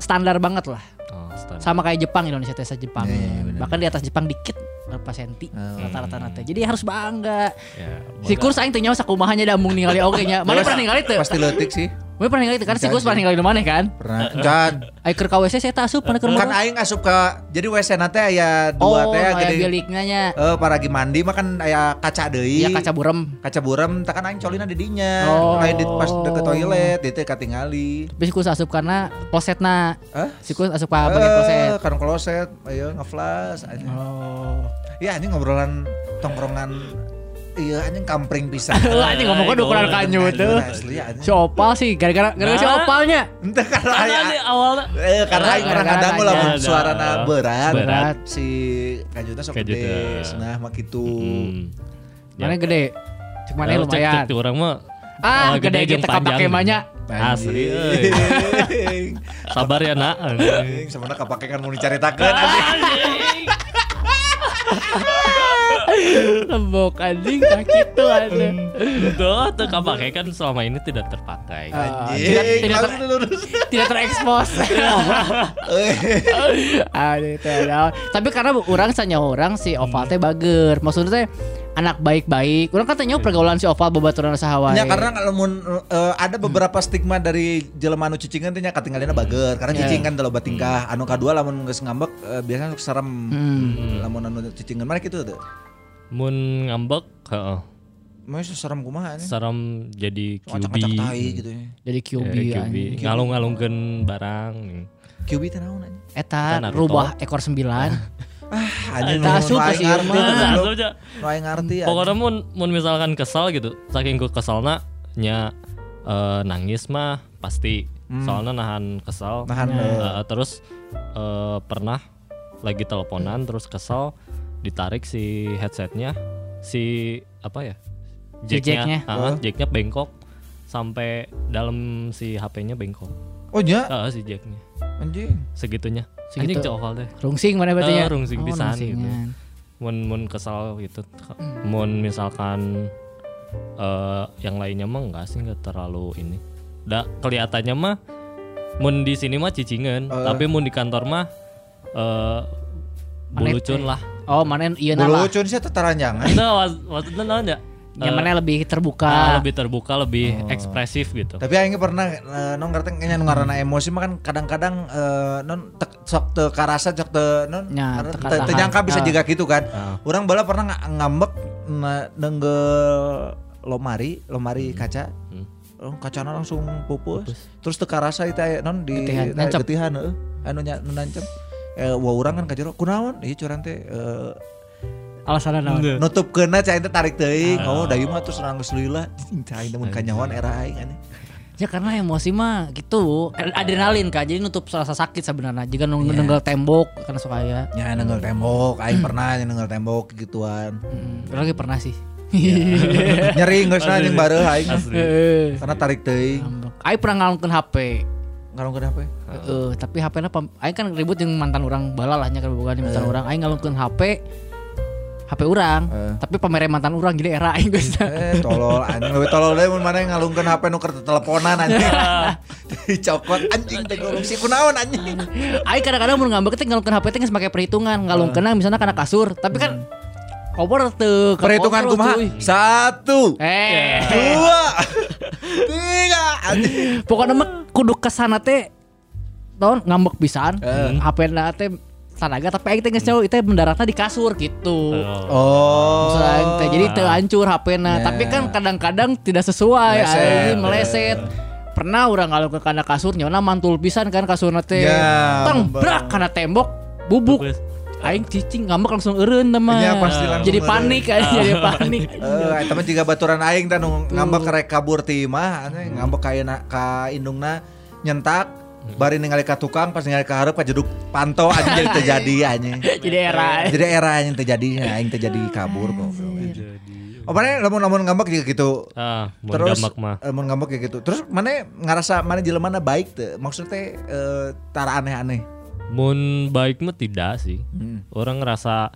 standar banget lah.
Oh, standar.
Sama kayak Jepang Indonesia teh sa Jepang.
Iya, iya, benar.
Bahkan di atas Jepang dikit berapa senti rata-rata nate. Jadi harus bangga.
Ya,
Si
modal.
kurs aing teu nyawa sakumaha nya damung ningali oge nya. Mana pernah ningali teu?
Pasti leutik sih.
Mana pernah ningali teu kan si kurs pernah ningali di mana kan?
[LAUGHS] Pernah. Can.
Aing keur ka WC saya tak asup mana keur
Kan
murah.
aing asup ka jadi WC na teh aya
Oh,
dua teh
aya
gede.
bilikna nya.
Eh paragi mandi mah kan aya kaca deui.
Iya kaca burem.
kaca buram tekan aing colina di dinya
Oh.
lain di pas deket toilet itu katingali
Tapi si kurs asup karena klosetna.
Hah?
Si kurs asup ka bagian kloset. Oh.
kan Eh, kloset ayo ngeflash anjing ya anjing ngobrolan tongkrongan iya anjing kampring pisan
Lu [LAUGHS] anjing ngomong gue ukuran kanyu tuh. Si
asli anjing
Opal sih, gara-gara gara-gara si
Nah.
Opalnya.
Entah karena
Karena
ya.
aya-
di awal
eh, karena aing pernah
Gara-gara
ngadangu lah
aja.
mun suarana berat,
Berat. eh.
si kanjuta sok
Kanjuta.
gede nah mah gitu
Hmm.
Hmm.
Mana gede. Cuma ini lumayan.
Ya. Cek, cek, orang mah
Ah,
eh,
gede
jeung
gitu kapake
panjang.
banyak.
Asli, eh.
anjing.
Sabar ya nak.
[LAUGHS]
Anjing, sebenarnya kepake kan mau diceritakan anjing.
Lembok anjing kaki tuh ada.
Tuh, tuh pakai kan selama ini tidak terpakai.
Ah. Anjing,
Ah, tidak-
langsung lurus.
Hmm.
Eh,
Tidak
[LAUGHS]
terekspos. Aduh, teh, nah. Tapi karena orang sanya orang si Oval
Hmm.
teh bager. Maksudnya teh anak baik-baik. Orang kan
Hmm.
tanya pergaulan si Oval babaturan sahawa.
Ya karena kalau mun, eh, ada beberapa stigma dari jelema anu cicingan teh nya katinggalina bager karena cicing kan loba tingkah anu kadua lamun geus ngambek eh, biasanya sok serem lamun anu cicingan mana kitu tuh
Mun ngambek, heeh.
Mau serem kumaha anjing.
Serem jadi QB.
Acak-acak tai gitu ya.
jadi QB.
Eh, QB.
anjing.
Ngalung-ngalungkeun barang.
QB teh naon anjing?
Eta
Naruto.
rubah ekor sembilan.
[LAUGHS]
Ah, anjing
Tak asup
lain
kasih
ngarti.
Irma.
Nah,
goblok.
soalnya
Lain ngarti anjing.
Pokoknya mun, mun misalkan kesal gitu, saking gue kesalna nya eh, nangis mah pasti. Soalnya nahan kesal.
Nahan,
Eh, terus eh, pernah lagi teleponan terus kesal ditarik si headsetnya si apa ya?
Si jacknya.
Jacknya, ah, jacknya bengkok sampai dalam si HP-nya bengkok.
Oh nya
Ah, si jacknya
anjing.
segitunya.
Segitu.
Anjing cowok deh.
Rungsing mana berarti ya?
Eh, rungsing pisan gitu.
rungsingan.
mun mun kesal gitu mun misalkan eh yang lainnya mah enggak sih enggak terlalu ini da kelihatannya mah mun di sini mah cicingan tapi mun di kantor mah eh bulucun lah
Oh, mana iya
Bulu
lah.
cun sih tetaranjangan.
nah was- maksudnya naon ya
Yang mana lebih
Eh,
terbuka.
lebih terbuka lebih ekspresif gitu
Tapi aing pernah eh, non ngerti kayaknya nu ngaranna emosi mah kan kadang-kadang eh, non tek, sok teu karasa sok teu non
Nya,
karena
teu
teu- teu
katahan.
nyangka bisa
Ah.
juga gitu kan. Orang bala pernah nga- ngambek na- nenggel lomari, lomari
Hmm.
kaca. Oh, kacana langsung pupus. Terus teu karasa itu non di
Getihan,
na-
nancep.
getihan heeh. Anu nya nu nancep. Eh wah urang kan kajero kunaon ieu curang teh eh,
Alasannya naon?
nutup kena cai teh tarik teuing.
Ah.
Oh, dayu mah terus nangis lila. Cai teh mun kanyawan era aing aneh.
Ya karena emosi mah gitu Iya. adrenalin kak jadi nutup rasa sakit sebenarnya jika nung nenggal tembok karena suka ya
Ya nenggel tembok, aing pernah nenggel tembok gituan.
hmm, lagi pernah sih Iya. [LAUGHS]
Nyeri geus na jeung bareuh aing.
Heeh.
Karena tarik teuing.
Aing pernah ngalungkeun HP
Ngarongkeun HP.
Heeh, tapi HP na pam- Aing kan ribut yang mantan orang bala lah nya kan bukan mantan orang Aing ngalungkeun HP HP orang
Heeh.
tapi pamerin mantan orang jadi era Aing [LAUGHS] guys
Eh, tolol anjing leuwih tolol deui mun mana ngalungkeun HP nu keur teleponan [LAUGHS] anjing. Dicokot anjing teh gorong si kunaon anjing. [LAUGHS]
Aing kadang-kadang mau ngambek teh ngalungkeun HP teh geus make perhitungan ngalungkeun misalnya karena kasur tapi kan cover tuh
Perhitungan kumaha? Satu, [LAUGHS]
Eh,
dua, tiga anjing.
Pokoknya mah kudu kesana teh tahun ngambek pisan
Eh.
HP na teh tenaga tapi aing teh geus nyawa itu mendaratna di kasur gitu
Hmm. Oh.
Misalnya teh, jadi teu hancur HP na
Ya.
tapi kan kadang-kadang tidak sesuai
Meleset. Ya.
aing meleset pernah orang kalau ke kana kasur nyona mantul pisan kan kasurna teh
Ya,
tang
membawa.
brak kana tembok bubuk aing cicing ngambek langsung eureun teh mah
Ya, pasti langsung
jadi
eureun. Ah.
panik aing jadi panik
[LAUGHS] Eh, teman juga baturan aing dan ngambek rek kabur ti imah, aneh, ngambek ka ina- ka indungna nyentak bari ningali ka tukang pas ningali ka hareup kajeduk panto anjing jadi terjadi anjing.
jadi era
Iya,
Ah,
Jadi era anjing terjadi aing terjadi kabur goblok. Oh, mana lamun-lamun ngambek juga gitu.
ah mun
Terus
ngambek mah
eh, mun ngambek kayak gitu. Terus mana ngerasa mana jelema na baik teu? Maksudnya teh eh, tara aneh-aneh.
mun baik mah tidak sih
Hmm.
orang ngerasa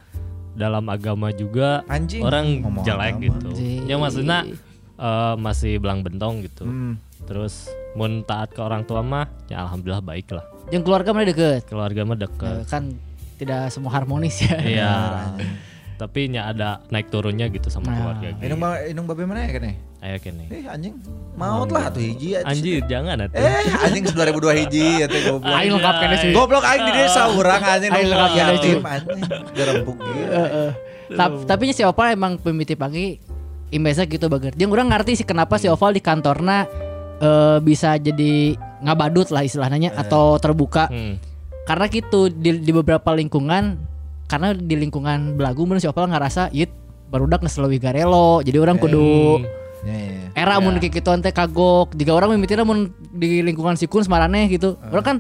dalam agama juga
Anjing,
orang
ngomong
jelek
agama.
gitu ya
Anjing.
maksudnya eh, masih belang bentong gitu
Hmm.
terus mun taat ke orang tua mah ya alhamdulillah baik lah
yang keluarga mana deket
keluarga mah
Ya,
deket
kan tidak semua harmonis ya.
Eh,
iya tapi nya ada naik turunnya gitu sama
Nah.
keluarga gitu
Indung ba- indung babe mana ya kene?
ayo kene
Eh anjing, maut lah tuh hiji atuh.
[LAUGHS] anjir jangan atuh
Eh anjing 2002 hiji ya teh goblok.
Aing lengkap kene sih. Ah.
Goblok aing di desa urang anjing
Aing
nu
lengkap kada,
yatim
cuy.
anjing gerempuk ieu.
Ta- tapi nya si Oval emang pemiti pagi imbasnya gitu bager. Dia kurang ngerti sih kenapa si Oval di kantorna eh, bisa jadi ngabadut lah istilahnya atau terbuka.
Hmm.
Karena gitu di, di beberapa lingkungan karena di lingkungan belagu mun si Oval ngerasa yit barudak ngeseleuwih garelo. Jadi orang
iya.
kudu
Ya, ya, ya.
era mun kayak gituan teh kagok jika orang mimitina mun di lingkungan sikun semaraneh gitu orang kan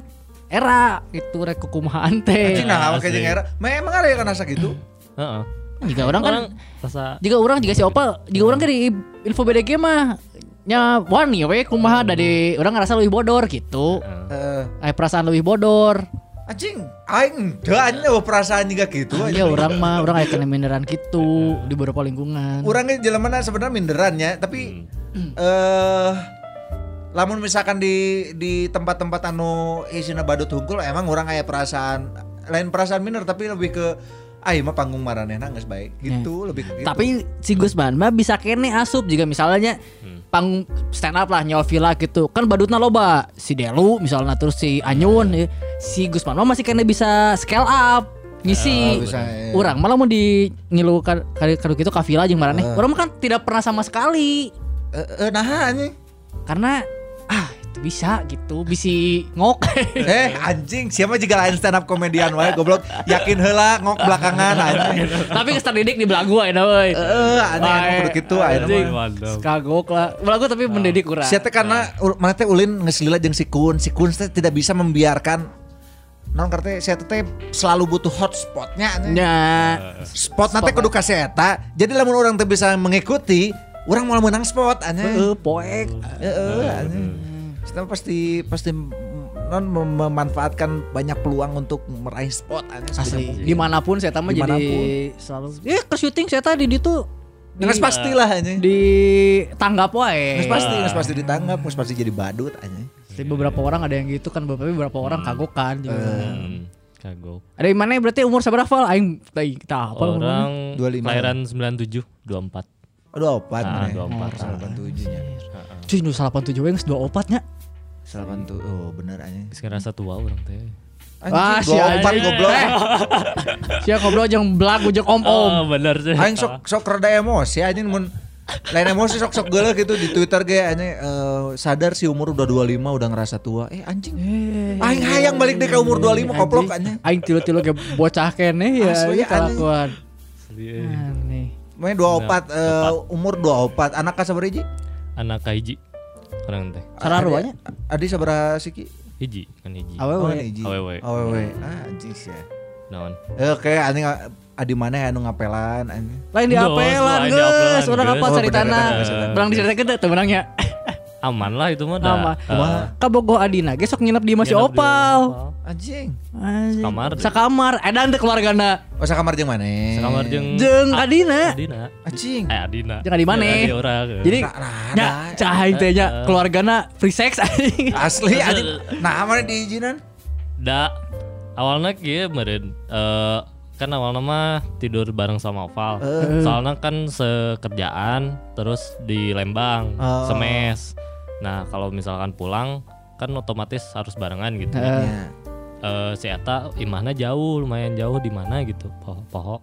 era gitu rek kukumahaan teh
Anjing nah
Iya, asli.
kayak jeung era. Memang ada yang nasa gitu.
Hmm. Heeh.
jika orang kan
rasa
jika orang jika si Opal jika orang kan di info BDG mah nya wani we kumaha dari orang ngerasa lebih bodor gitu.
Hmm.
Heeh.
Aya perasaan lebih bodor.
Eh, anjing aing enggak oh perasaan juga gitu
Ya orang mah orang aya kena minderan gitu di beberapa lingkungan.
Orangnya jalan mana sebenarnya minderan ya, tapi eh lamun misalkan di di tempat-tempat anu isina badut hungkul emang orang kayak perasaan lain perasaan minder tapi lebih ke ah ieu mah panggung maranehna geus baik gitu lebih ke gitu.
Tapi si Gusman mah bisa kene asup juga misalnya
Hmm.
panggung stand up lah nyawa villa gitu. Kan badutna loba si Delu misalnya terus si Anyun ya.
Iya.
si Gusman mah masih kene bisa scale up ngisi
Oh, bisa, iya.
orang malah mau di ngilu ka- ka- kadu gitu ka villa jeung maraneh.
Ah.
Orang mah kan tidak pernah sama sekali
Eh, eh, nah anjing.
karena ah itu bisa gitu bisi ngok [LAUGHS]
Eh anjing siapa juga lain stand up komedian wae goblok yakin heula ngok belakangan anjing.
tapi kesan didik di belagu nah, ayeuna euy
Eh aneh emang kudu kitu ayeuna mah.
Mantap.
kagok lah belagu tapi
Ah.
mendidik kurang
Sia teh karena ul- mana teh ulin ngeselila jeung si Kun. Si Kun teh tidak bisa membiarkan non karena teh sia teh teh selalu butuh hotspotnya. nya.
nya
Ah. Spot nanti
Spotna.
kudu ka si eta. Jadi lamun orang teh bisa mengikuti, orang mau menang spot aneh.
Heeh, poek
Ah. Heeh aneh. Kita pasti pasti non mem- memanfaatkan banyak peluang untuk meraih spot aneh.
asli dimanapun saya mah jadi
Dimanapun.
selalu eh ke syuting saya tadi di tuh di,
Nges pastilah aneh.
di tanggap wae
Nges pasti, nges pasti ditanggap, nges pasti jadi badut aneh.
Tapi beberapa orang ada yang gitu kan beberapa beberapa orang kagok kan juga.
Eh.
Hmm, Kagok.
ada yang mana berarti umur seberapa lah aing tah- tah apa umurnya?
Orang
25.
kelahiran 97, 24.
Aduh opat
Ah,
maneh.
24.
Salah nya.
cuy nu 87 we geus dua opatnya
Salah bantu. Oh bener aneh.
Geus ngerasa tua orang teh.
Wah, Ah, si
Anjing, dua opat
anjing.
goblok.
Eh, Sia ngobrol jeung belag jeung om-om.
Oh, bener sih.
Aing sok sok rada emosi anjing mun lain emosi sok sok geuleuh gitu di Twitter ge anjing eh, sadar si umur udah 25 udah ngerasa tua. Eh anjing. Aing hayang balik deh ke umur 25 koplok anjing.
Aing tilu-tilu ge bocah keneh ya
Eh. Asli,
ieu kelakuan. Iya,
Asli, eh.
Aneh.
Main 24 eh, umur 24 anak ka sabari hiji?
Anak ka hiji. Orang teh.
Sararuanya
Adi sabaraha siki?
Hiji, kan hiji.
Oh,
awewe.
hiji.
Awewe.
Awewe. Ah anjing sih. ya.
Naon?
Eh Oke, anjing ah, adi mana anu ngapelan anjing.
Lain di
Geus,
apelan
lain di
geus,
apelan,
urang
geus.
apa
Oh,
ceritana?
bener-bener.
Urang diceritakeun teh temenangnya.
Aman lah itu mah dah.
Nama.
Eh,
Ka Bogoh Adina ge sok nginep di Mas
nginep di
Opal.
Anjing.
Anjing.
Sakamar.
Sakamar, edan teh keluargana.
Oh sakamar jeung maneh.
Sakamar Eh. jeung
Jeung Adina.
Adina.
anjing.
Eh Adina.
Jeung Adi maneh.
Jeung Adi orang.
Jadi
Nah, nah,
nya
nah.
cah aing teh
Eh.
nya keluargana free sex
[LAUGHS]
anjing. [LAUGHS]
Asli anjing. Nah, mana diizinan?
da awalnya kieu meureun eh kan awalnya mah tidur bareng sama Val. Soalnya kan sekerjaan terus di Lembang,
Oh.
semes. Nah, kalau misalkan pulang kan otomatis harus barengan gitu. ya.
Ya.
eh si Eta imahna jauh lumayan jauh di mana gitu poho, poho.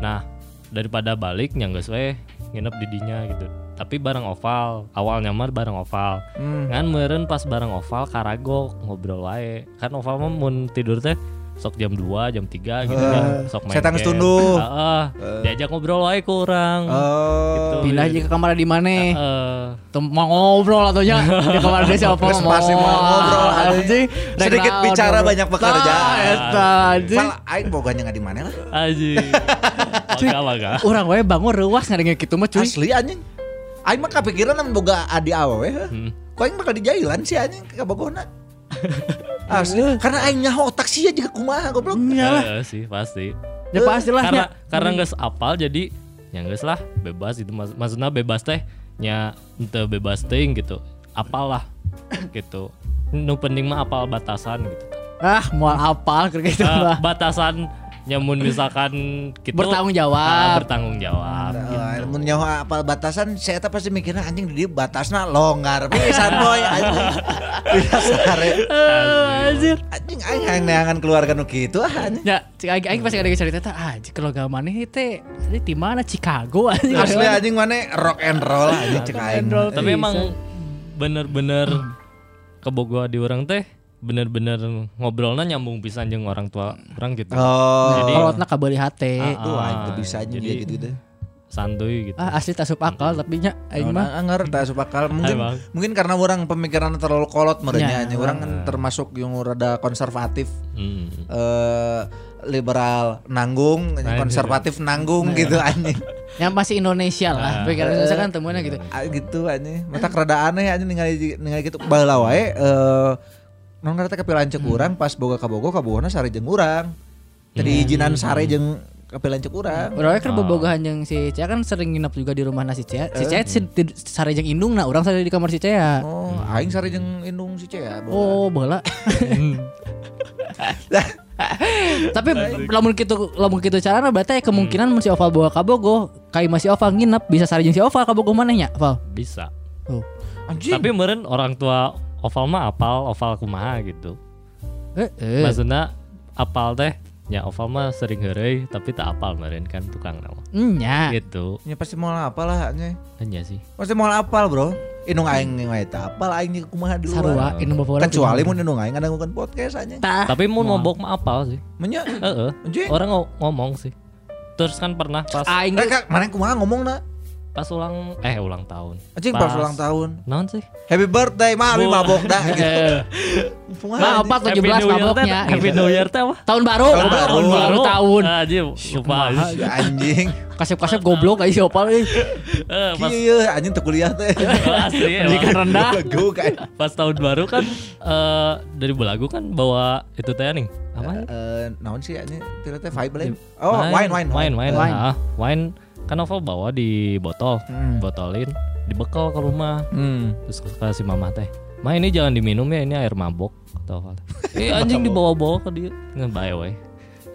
nah daripada balik nyangges we nginep di dinya gitu tapi bareng oval awalnya mah bareng oval
Hmm.
kan meren pas bareng oval karagok ngobrol wae kan oval mah mun tidur teh sok jam 2 jam 3 gitu kan sok
Eh,
main
setan geus
game.
tunduh.
Heeh, diajak ngobrol wae ku urang
Oh.
Gitu. Eh,
Pindah aja ke kamar di maneh.
Heeh.
Tem- mau ngobrol atau
[LAUGHS]
nya di kamar dia siapa
Terus pasti mau ngobrol, anjing. Sedikit bicara, banyak bekerja.
Nah,
Mal, aing boganya nggak di mana lah. [LAUGHS]
anjing Maka, maka.
orang wae bangun rewas ngadengin gitu mah cuy
Asli anjing. Aing mah kepikiran namun boga adi awewe.
Hmm.
Kok aing bakal dijailan sih anjing ke
[LAUGHS]
Bogona. Asli,
Iya.
karena aing nyaho otak sih juga kumaha goblok.
iyalah
Eh, sih pasti
ya pastilah nya
karena karena nggak apal jadi ya nggak lah bebas itu Mas- maksudnya bebas teh nya ente bebas ting gitu apal
[COUGHS]
lah gitu nu penting mah apal batasan
[COUGHS]
gitu
ah mual apal kayak gitu
Eh,
mah
batasan nyamun misalkan kita
Bertanggung jawab.
bertanggung jawab
Nah, mun nyaho apal batasan, saya eta pasti mikirnya anjing di dieu batasna longgar pisan boy
[LAUGHS]
anjing. Biasa are.
Eh, anjir
Anjing aing hayang neangan keluarga nu kitu ah anjing.
ya cik aing aing pasti ada cerita teh ah jik, kalau gak mana teh tadi di mana Chicago anjing
Asli anjing mana rock and roll anjing cek aing.
Roll.
tapi emang bener-bener kebogohan di orang teh bener-bener ngobrolnya nyambung pisan jeung orang tua orang gitu
Oh.
jadi
kalau nak kabeli hate
Ah,
Aduh, aing teu bisa anjing
jadi-
ya gitu deh.
santuy gitu
ah asli tasup akal tapi nya aing
Aing
mah
anger tak asup akal mungkin
Emang.
mungkin karena orang pemikiran terlalu kolot merenya
Ya.
nya. orang kan termasuk yang rada konservatif
Hmm.
eh liberal nanggung
Nah,
konservatif nanggung gitu anjing
yang pasti Indonesia lah pikiran Indonesia kan temuannya gitu
Ah, gitu anjing mata rada aneh anjing ningali ningali gitu baheula wae eh non rata kepilan ceuk urang pas boga ka Bogor ka Bogorna sare jeung urang tadi ijinan sare jeung kepilan ceuk urang
Orang kan bobogohan yang si Cea kan sering nginep juga di rumahnya si Cea. Si Cea si, tid- sarejeng indung nah, orang sareng di kamar si Cea.
oh aing sare jeung indung si Cea Bogor.
Oh, bola.
Hmm.
[LAUGHS] Tapi lamun kitu lamun kitu carana berarti aya kemungkinan
Hmm.
mun si Oval bawa ka Bogo, kai masih Oval nginep bisa sareng si Oval ka Bogo maneh nya, Oval.
bisa.
Tuh.
anjing
Tapi meren orang tua oval mah apal oval kumaha gitu.
Eh, eh.
Maksudnya apal teh ya oval mah sering heureuy tapi tak apal meren kan tukang nama.
Nya.
Gitu.
nya Ya, pasti moal apal lah anjing
Hanya sih.
pasti moal apal bro indung aing nih wae teu apal aing jeung kumaha dulu ah.
Sarua indung bawa bola.
kecuali mun indung aing ngadangukeun podcast anjing
tah.
Tapi mau mabok mah apal sih.
menya
Eh.
Heeh.
Anjing.
Orang ngo- ngomong sih. Terus kan pernah pas
aing
Eh, Kak, mana kumaha ngomongna
pas ulang eh ulang tahun.
anjing pas ulang tahun
Naon sih?
happy birthday mah abi
Bu.
mabok
[LAUGHS]
dah gitu Kumaha,
Nah,
anjing?
opat 17
Happy New Year teh-
maboknya.
Happy
gitu.
New Year teh apa?
Tahun baru,
Tahun baru.
baru tahun.
Aja lupa.
Si anjing
Kasep-kasep goblok aja si Oval euy.
Eh, [LAUGHS] pas
Kieu anjing teu kuliah teh.
[LAUGHS] asli emang.
rendah.
Lagu kayak
Pas tahun baru kan eh, dari belagu kan bawa itu teh nih. Apa?
Eh, eh, naon sih anjing? Tira teh Vibe Oh,
Oh,
wine wine
wine, wine,
Wine.
Ah, wine. Kan Novel bawa di botol,
Hmm.
botolin, dibekal ke rumah.
Hmm.
Terus kasih mama teh. Ma ini jangan diminum ya, ini air mabok. Atau apa?
[LAUGHS]
Eh anjing dibawa-bawa ke dia. Ngebae we.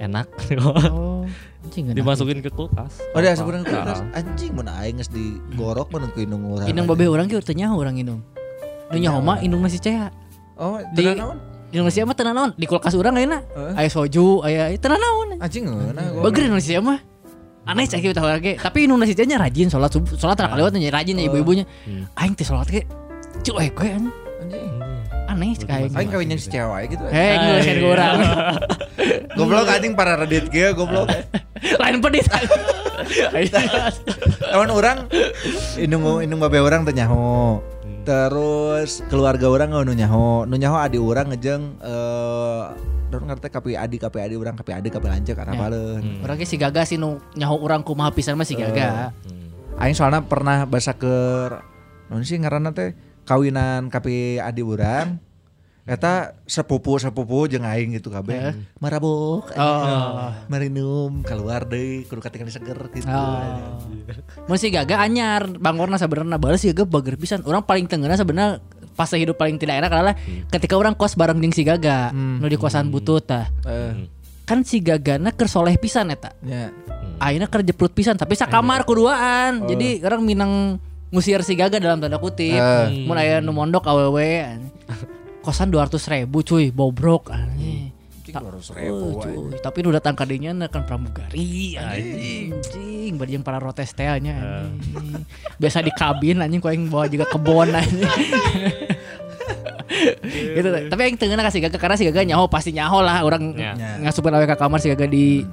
Enak. [LAUGHS]
Oh, anjing enak.
Dimasukin ke kulkas.
Oh, dia sebenarnya kulkas. Anjing mun aing geus digorok mun ku indung urang.
Indung babe orang ge teu nyaho urang indung. Nu
Iya.
nyaho mah indung masih Cea.
Oh,
Di
teu naon?
Indonesia mah tenan naon? Di kulkas urang ayeuna.
Heeh.
Aya soju, aya tenan naon.
Anjing ngeunah gua.
Bager Indonesia mah. Aneh cah kita tahu lagi. Tapi Indonesia nya rajin sholat subuh, sholat terak lewat nya rajin ya ibu-ibunya. Aing teh sholat ge. Cuek we aneh.
Anjing.
Aneh cah aing.
Aing kawin jeung si cewek gitu.
Hei, Indonesia ke urang.
Goblok anjing para Reddit ge
[LAUGHS]
goblok.
[LAUGHS] Lain pedis.
Lawan orang indung indung babe orang teh nyaho.
Hmm.
Terus keluarga orang nu nyaho, nu nyaho adi orang ngejeng eh Don ngerti kapi adi kapi adi orang kapi adi kapi lanjut
Eh.
karena
Ya.
balen.
Urang ge si Gaga sih nu nyaho urang kumaha pisan mah si Gaga.
Aing soalnya pernah bahasa ke non sih ngaranna teh kawinan kapi adi urang. Eta sepupu sepupu jeung aing gitu kabeh. Marabok. eh,
Oh.
Marinum keluar deui kudu katingan seger gitu.
Oh. Mun si Gaga anyar, bangorna sabenerna balas si Gaga bager pisan. Orang paling tengenah sebenarnya fase hidup paling tidak enak adalah ketika orang kos bareng jeung si Gaga nu di kosan butut tah.
Hmm. Eh,
Kan si Gagana keur soleh pisan eta.
nya.
Ayeuna keur jeprut pisan tapi
Eh.
sakamar kuduaan. Jadi orang minang ngusir si Gaga dalam tanda kutip.
Eh.
Mun aya nu mondok
[LAUGHS]
awewe kosan 200 ribu cuy bobrok
Hmm.
aneh. Oh, cuy. Tapi nu datang ka dinya na kan pramugari anjing. Anjing bari jeung para rotes teh nya anjing. [LAUGHS] Biasa di kabin anjing ku aing bawa juga kebon anjing. gitu tapi aing teu ngeuna ka si Gaga karena si Gaga nyaho pasti nyaho lah orang
Ya.
ngasupeun awe ka kamar si Gaga di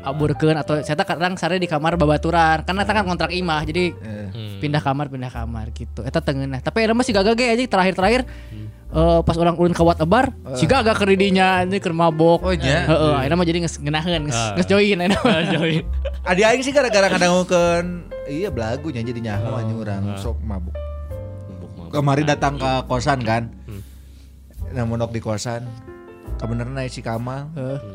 aburkeun atau saya kadang sare di kamar babaturan karena eta kan kontrak imah jadi
Hmm.
pindah kamar pindah kamar gitu eta teu ngeunah. tapi eta mah si Gaga ge anjing terakhir-terakhir
Hmm.
eh, pas orang ulun ka wat ebar si Gaga keur di dinya anjing keur mabok
Oh, nya.
heeh akhirnya mah jadi nges- ngeunaheun nges,
Iya. [LAUGHS] Ah.
nges join akhirnya mah.
Joy.
Adi aing sih gara-gara ngadangukeun iya belagunya jadi
Oh,
nyaho anjing urang sok mabuk. Kemari datang ke kosan kan.
Hmm.
Nah mondok di kosan. Kebeneran naik si Kamal.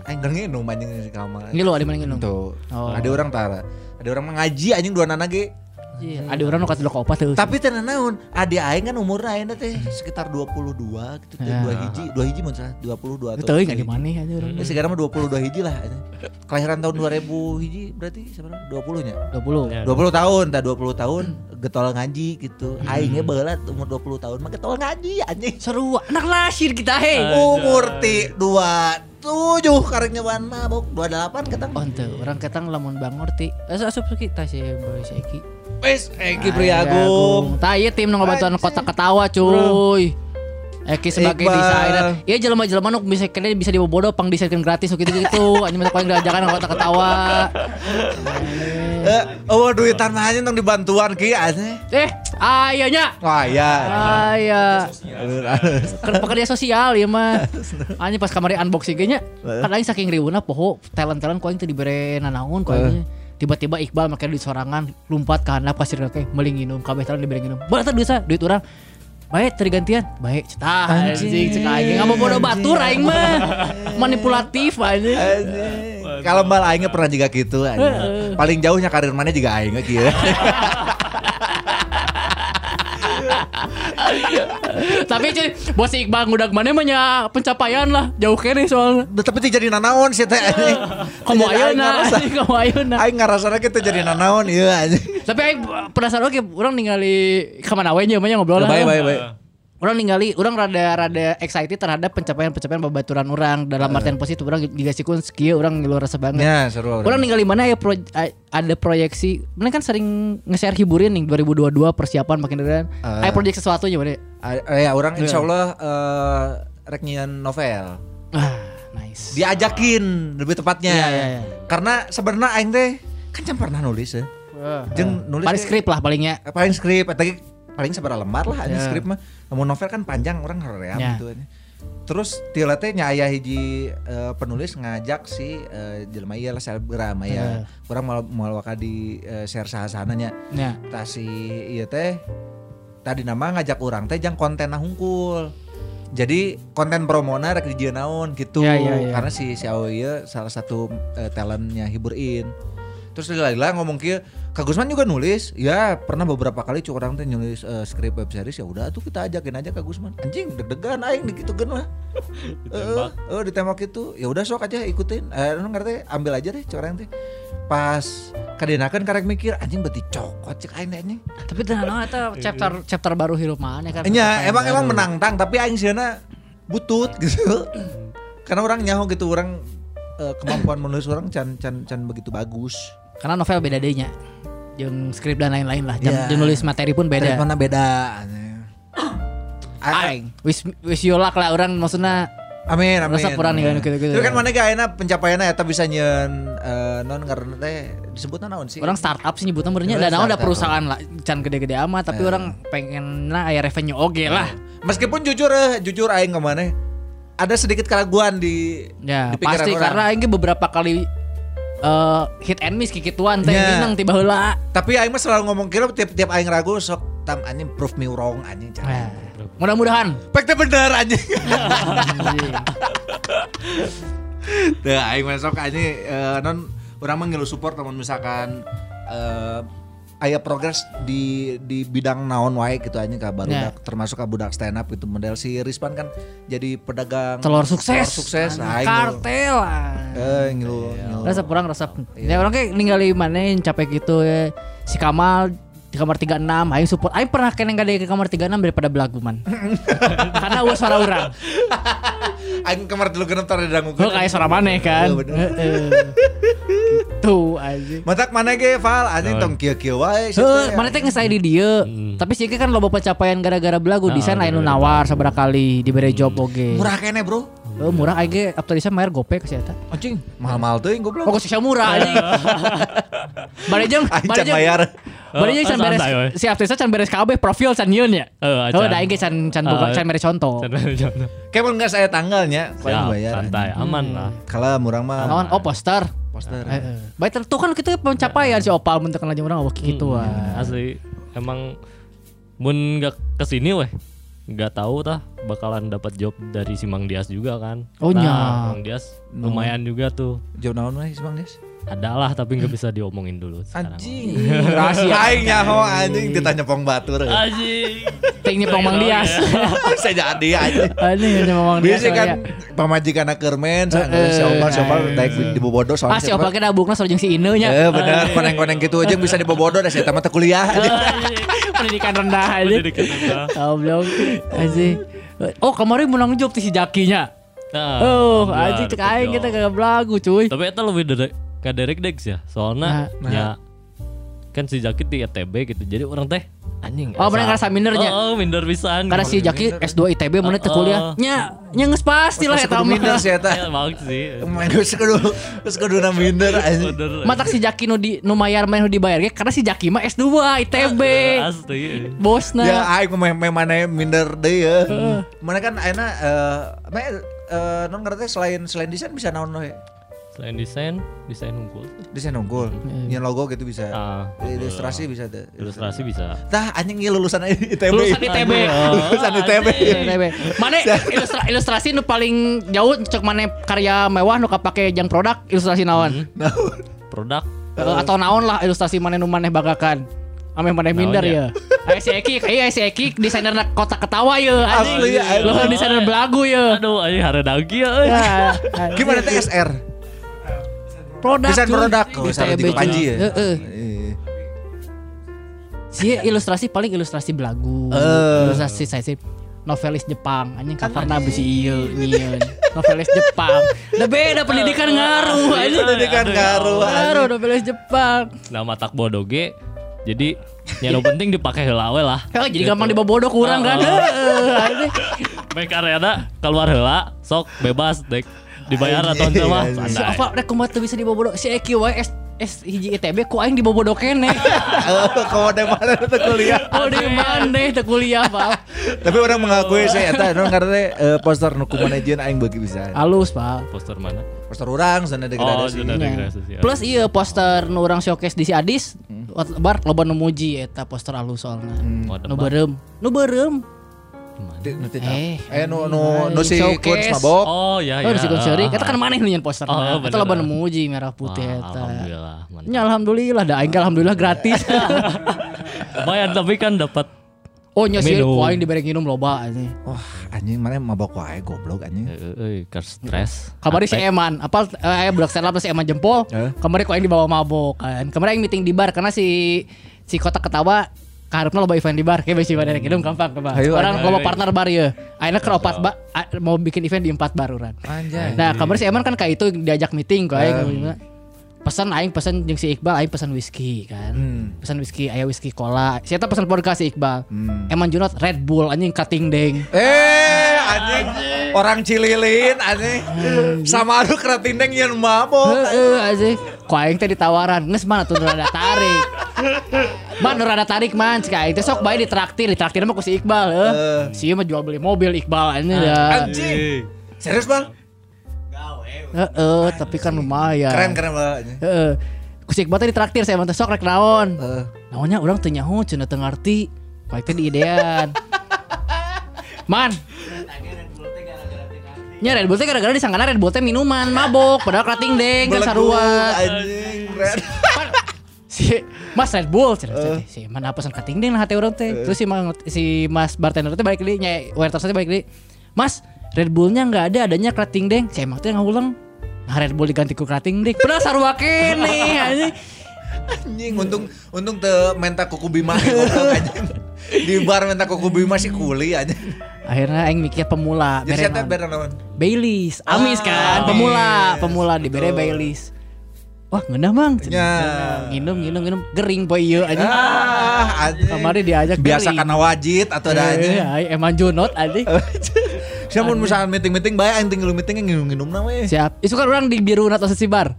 Aing gak nginum anjing si Kamal.
Ini lo ada mana nginum?
Tuh.
Oh.
Ada orang tara. Ada orang mengaji anjing dua nana ge.
Iya, ada orang nu katelok opat tuh.
Tapi teu naon, adi aing kan umurna ayeuna teh sekitar 22 gitu teh,
Ya.
dua hiji, dua hiji mun salah 22 atau.
teu enggak di
hiji.
mana aja orang.
Hmm.
Ya, sekarang mah 22 hiji lah anjing. Kelahiran tahun 2000 hiji berarti sebenarnya 20 nya.
20.
Iya.
20 tahun, tak 20 tahun getol ngaji gitu. Aingnya beulat umur 20 tahun mah getol ngaji anjing.
Seru, anak lasir kita hei.
Ah.
Umur ti 27 karek nyobaan mabok 28 ketang.
Oh, ente, orang ketang lamun bangor ti. Eh, Asup asup kita si Boy si Eki.
Wes Eki
Agung.
Priagung.
Tah ieu tim nu ngobatan
Anjing.
kota ketawa cuy. Eki sebagai
Iqbal.
desainer. Iya jelema-jelema nu bisa kene bisa dibobodo pang desainkeun gratis gitu-gitu. Anjing mah paling diajakan kota ketawa.
Eh, oh duitan mah anjing tong dibantuan ki anjing.
Eh, ayonya. Ah.
Wah ya.
Aya.
Alur alus.
Ker- pekerja sosial ya [LAUGHS] mah anjing Eh. pas kamari unboxing ge nya kan aing saking riweuna poho talent-talent ku aing teu dibere nanaon ku aing nya. tiba-tiba Iqbal makin di sorangan lompat ke handap kasir oke meling nginum kabeh tolong diberi nginum boleh tak duit sa duit orang baik teri gantian baik cetah anjing cek aing nggak mau bodoh batur aing mah manipulatif anjing
Kalau mbak Aingnya pernah juga gitu anjing. Paling jauhnya karir mana juga Aingnya gitu
[LAUGHS] [LAUGHS] tapi cuy bos si Iqbal ngudag mana mah nya pencapaian lah jauh kene soalnya
Tapi teu jadi nanaon sih teh anjing.
kamu
Jadi Aing
ayana
ngarasa.
anjing, kamu ayana
[LAUGHS] Aing ngerasana kita jadi nanaon ieu anjing.
tapi aing penasaran oke orang ningali kemana we nya mah nya ngobrol lah
Baik baik baik.
orang ningali orang rada rada excited terhadap pencapaian-pencapaian babaturan orang dalam artian positif orang juga sikun skieu orang luar rasa banget
Ya seru.
Orang ningali mana ya pro- a- ada proyeksi. Mana kan sering nge-share hiburin nih 2022 persiapan makin keren.
Ah.
Ada proyek sesuatu nya mana?
A- eh, ya
Iya.
orang insya Allah eh, rek nyian novel
Ah, nice.
diajakin lebih tepatnya
Iya, iya, iya.
karena sebenarnya aing teh kan can pernah nulis ya
Ah.
jeung nulis ya?
Paling ya.
ge-
skrip lah palingnya.
eh, paling skrip eta ge paling sabaraha lembar lah anjing
Ya.
skrip mah namun novel kan panjang orang hoream
Ya.
gitu anjing. terus tiala teh nya aya hiji eh, penulis ngajak si eh, jelema ieu lah selebgram aya urang moal moal waka di eh, share saha-sahana nya
Ya.
tah si ieu teh tadi nama ngajak orang teh jang kontenna hungkul jadi konten promona rek di naon gitu
Ya, ya, ya.
karena si si Aoi ieu salah satu eh, talentnya hiburin terus lagi lah ngomong kieu Kak Gusman juga nulis ya pernah beberapa kali cuy orang teh nulis eh, skrip web series ya udah tuh kita ajakin aja Kak Gusman anjing deg-degan aing digitukeun mah Heeh, heeh, ditembak itu ya udah sok aja ikutin eh nu ngerti ambil aja deh cuy orang teh pas kadenakan karek mikir anjing berarti cokot cek aing teh anjing
Tapi tenang nah, eta chapter chapter baru hirup mana kan. Pencapaian
Nya, Hmm. Iya, emang emang
baru.
menantang tapi aing sieuna butut [CLEARS THROAT] gitu. Karena orang nyaho gitu, orang eh, kemampuan menulis orang can can can begitu bagus.
Karena novel beda dehnya. Jeung skrip dan lain-lain lah. Jeung
Ya.
jeung nulis materi pun
Dari
beda. Ah,
mana beda. [CLEARS THROAT] Aing.
Wish wish you luck lah orang maksudnya
Amin, amin.
Resep orang nih,
Amin.
gitu-gitu.
Terus kan mana gak enak pencapaiannya eta bisa nyen eh, non karena teh disebutna naon sih?
orang startup sih nyebutnya benernya dan
Orang
ada
Iya, startup. Iya.
perusahaan lah can gede-gede amat tapi orang pengen nah aya revenue oge lah
Meskipun jujur eh, jujur aing kemana ada sedikit keraguan di
ya
di pikiran
pasti
orang.
karena ini beberapa kali eh, hit and miss kikituan teh
Ya.
minang tiba heula
Tapi aing mah selalu ngomong kira tiap-tiap aing ragu sok tam anjing prove me wrong anjing.
Nah,
jangan.
mudah-mudahan
Pek teh bener [LAUGHS] anjing.
Anjing.
Teh aing masuk anjing eh, non urang mah ngilu support namun misalkan eh aya progres di di bidang naon wae gitu anjing ka barudak termasuk ka budak stand up gitu model si Rispan kan jadi pedagang
telur sukses
telur sukses
Anjing,
nah, aing ngilu-
kartel anjing.
eh ngilu ngilu.
resep kurang resep
Oh,
ya orang kayak ninggali mana yang capek gitu ya. si Kamal di kamar 36 aing support aing pernah kena gak ke kamar 36 daripada
[LAUGHS]
belaguman karena gue suara orang
aing kamar dulu genep tadi
gue kayak suara maneh kan
Iya, bener.
Heeh. gitu aja
Matak mana ge Val anjing tong kieu-kieu wae situ
Heuh,
ya. Hmm.
mana teh ngesai di dia Tapi sih kan loba pencapaian gara-gara belagu
Ah,
Desain lain nu nawar sabaraha kali Diberi job oge
Hmm. murah kene bro
Heuh, murah aja Atau desain mayar gope ke sieta
anjing mahal-mahal teuing goblok
Pokok sisa murah aja Bari jeung
Aing
Bari
can
jeung
bayar
Bari jeung
Oh,
can beres
santai, we.
Si Aptesa can beres KB Profil can yeun ya
Eh,
Heuh,
can.
da aing ge can can buka
Eh,
can mere contoh
Contoh.
Kemon enggak saya tanggalnya
Siap,
paling bayar
Ya,
Hmm.
santai, aman lah.
kalau murah mah
Naon oh poster
poster
Heeh. Baik tentu kan kita pencapaian si Opal mentekan aja orang awak gitu ah.
Asli emang mun nggak kesini weh nggak tahu tah bakalan dapat job dari si Mang Dias juga kan.
Oh, nya.
Mang Dias lumayan juga tuh.
jauh naon wae Bang Des
Adalah tapi
Eh.
nggak bisa diomongin dulu sekarang.
Anjing. [LAUGHS] Rahasia. Aing nyaho anjing ditanya pong batur.
Anjing.
Tingnya Pong Mang Dias.
[LAUGHS] Bisa jadi anjing.
[LAUGHS] Anjing nya Mang Dias.
Biasa kan
ya.
pamajikan kermen
Eh,
si Opal si Opal daek dibobodo
Ah
soalnya.
si Opal kena bukna sareng si Ineu nya.
Eh benar koneng-koneng gitu aja bisa dibobodo dah saya tamat kuliah.
[LAUGHS] pendidikan rendah aja goblok aja oh kemarin menang job tuh si jakinya
Nah,
oh
alhamdulillah
aja cek
dapet
aing
job.
kita kagak belagu cuy
Tapi itu lebih dari ke derek dex ya. Soalnya
Nah.
ya kan si Jaki di ETB gitu. Jadi orang teh anjing.
Oh,
asa-
bener ngerasa mindernya.
Oh, oh, minder pisan.
karena si Jaki S2 ITB mana teu kuliah
Oh.
nya nya geus pasti lah eta mah
minder sih
Ya,
eta.
banget sih.
Main geus kudu geus kudu na minder anjing.
Minder.
[LAUGHS] matak si Jaki nu di nu mayar main nu dibayar ge karena si Jaki mah S2 ITB
Ya
Asli.
bosna
aing mah mah mana minder deui ya. Mana kan ayeuna eh meh eh non ngerti selain selain desain bisa naon we.
Selain desain, desain unggul.
desain unggul nyen logo gitu bisa
Ah,
ilustrasi bisa tuh [LAUGHS]
Ilustrasi bisa.
tah anjing
iya,
ieu lulusan ITB
Lulusan ITB.
lulusan
Oh,
ITB
ITB. Mana ilustra- ilustrasi nu paling jauh cek mana karya mewah nu kapake jang produk ilustrasi naon?
Produk.
Eh, atau naon lah ilustrasi mana nu maneh bagakan. Ame maneh minder
Naon ya?
ya. Aya si Eki, iya si Eki desainer na kota ketawa ya anjing.
Asli, ya,
Lo kan desainer belagu ya.
Aduh, anjing hareuda
[LAUGHS]
euy.
Ya, ya.
gimana teh SR
Produk.
desain
cuy.
produk oh salah
ITB,
juga
cuy.
panji ya
Heeh.
Iya.
Si ilustrasi paling ilustrasi belagu.
Eh.
Ilustrasi saya sih novelis Jepang anjing kafarna bisi ieu nyieun. Novelis Jepang. Da beda pendidikan ngaruh anjing.
Kan
pendidikan
Aduh,
ngaruh
Ngaruh novelis Jepang.
Nama tak bodoge. Jadi yang [LAUGHS] penting dipakai heula we lah.
Heh,
Gitu.
Ya,
Gitu.
jadi gampang dibawa bodoh kurang kan.
Ah.
Heeh, anjing.
Baik arena keluar heula, sok bebas dek dibayar atau enggak mah.
Si
Pandai.
Ova Ya rek kumaha teu bisa dibawa bodoh. Si EQ wae S S hiji ITB ku aing dibawa bodoh [LAUGHS] kene.
kau ada mana tuh kuliah
Oh di mana teu kuliah, Pak.
tapi orang mengakui saya eta non karena teh, eh, poster nu kumaha jeung aing beuki bisa
Halus, Pak.
Poster mana?
poster urang sana
Oh,
degradasi
sudah degradasi. ya. Hmm.
Plus iya poster nu urang showcase di si Adis, wat- bar loba nu muji eta poster alus soalna.
Modem
Nu
mah.
beureum, nu beureum.
Gimana?
Di- nu tita.
Eh,
eh nu nu nu si
showcase.
Kunz mabok
Oh, ya ya.
Oh, si Kunseri,
Ah,
eta kan maneh nu nyen poster.
Oh,
Eta
bener.
loba nu muji merah putih
Wah,
eta.
Alhamdulillah. mantap.
Ya alhamdulillah da aing ge alhamdulillah
[LAUGHS]
gratis.
Lumayan tapi kan dapat
oh nya sih ku
Minum.
aing dibere minum loba anjing.
wah anjing mana mabok wae goblok anjing
eh ke stres.
Kamari si
Attack.
Eman, apa eh blok stand up si Eman jempol.
Eh?
Kamari kok yang dibawa mabok kan. Kamari yang meeting di bar karena si si kotak ketawa karepna loba event di bar kayak besi badan hidung gampang gampang.
Ayo,
orang
ayo,
loba
ayo.
partner bar ya. Akhirnya ke opat ba, a- mau bikin event di empat bar orang.
anjay
Nah, kamari si Eman kan kayak itu diajak meeting kok aing. Pesan aing pesan jeung si Iqbal aing pesan whisky kan. Pesan whisky, aya whisky cola. Si eta pesan vodka si Iqbal. Eman Junot Red Bull anjing kating deng.
Eh, anjing. Orang cililin anjing. Sama aduh keratindeng yang mabok.
Heeh, asik. Ku aing teh ditawaran, nges mana tuh nu rada tarik. Man nu rada tarik man, cik aing teh sok bae ditraktir, ditraktir mah ku si Iqbal, heuh. Si ieu mah jual beli mobil Iqbal anjing
Ah.
Kan
ya.
Anjing. Serius, Bang?
Heeh, tapi kan lumayan.
Keren keren banget. anjing.
Heeh. Ku si Iqbal teh ditraktir saya mah teh sok rek naon.
Heeh.
Naonnya urang teu nyaho cenah teu ngarti. Ku aing teh diidean. Man. Nya Red Bull teh gara-gara disangkana Red Bull teh minuman, mabok, padahal kerating deng, kan
Belegu,
sarua.
Anjing, keren. [LAUGHS]
si Mas Red Bull cenah teh.
Eh.
si mana pesan kating deh hati orang teh terus si mang- si Mas bartender teh balik deui nya waiters teh balik deui Mas Red Bullnya nggak ada adanya kating deh saya mah teh ngulang nah Red Bull diganti ku kating deh pernah sarua kene
[LAUGHS]
anjing
Anjing, untung untung teu menta kuku bima [LAUGHS] goblok, anjing. Di bar menta kuku bima sih kuli anjing.
akhirnya aing mikir pemula
Jadi
bere
saya teh
naon.
bareng lawan.
Baileys amis
Ah,
kan pemula pemula di bere Baileys wah ngeunah mang cenah.
Ya.
nginum nginum nginum gering poe ieu anjing
Ah, anjing.
kamari diajak
Biasa
gering.
karena wajit atau ada anjing.
Eh, ai, Emang Junot
[LAUGHS]
anjing
Siapa mun misalkan meeting-meeting bae anjing ngilu meeting nginum-nginum na we.
Siap. Itu kan orang di biru atau si bar.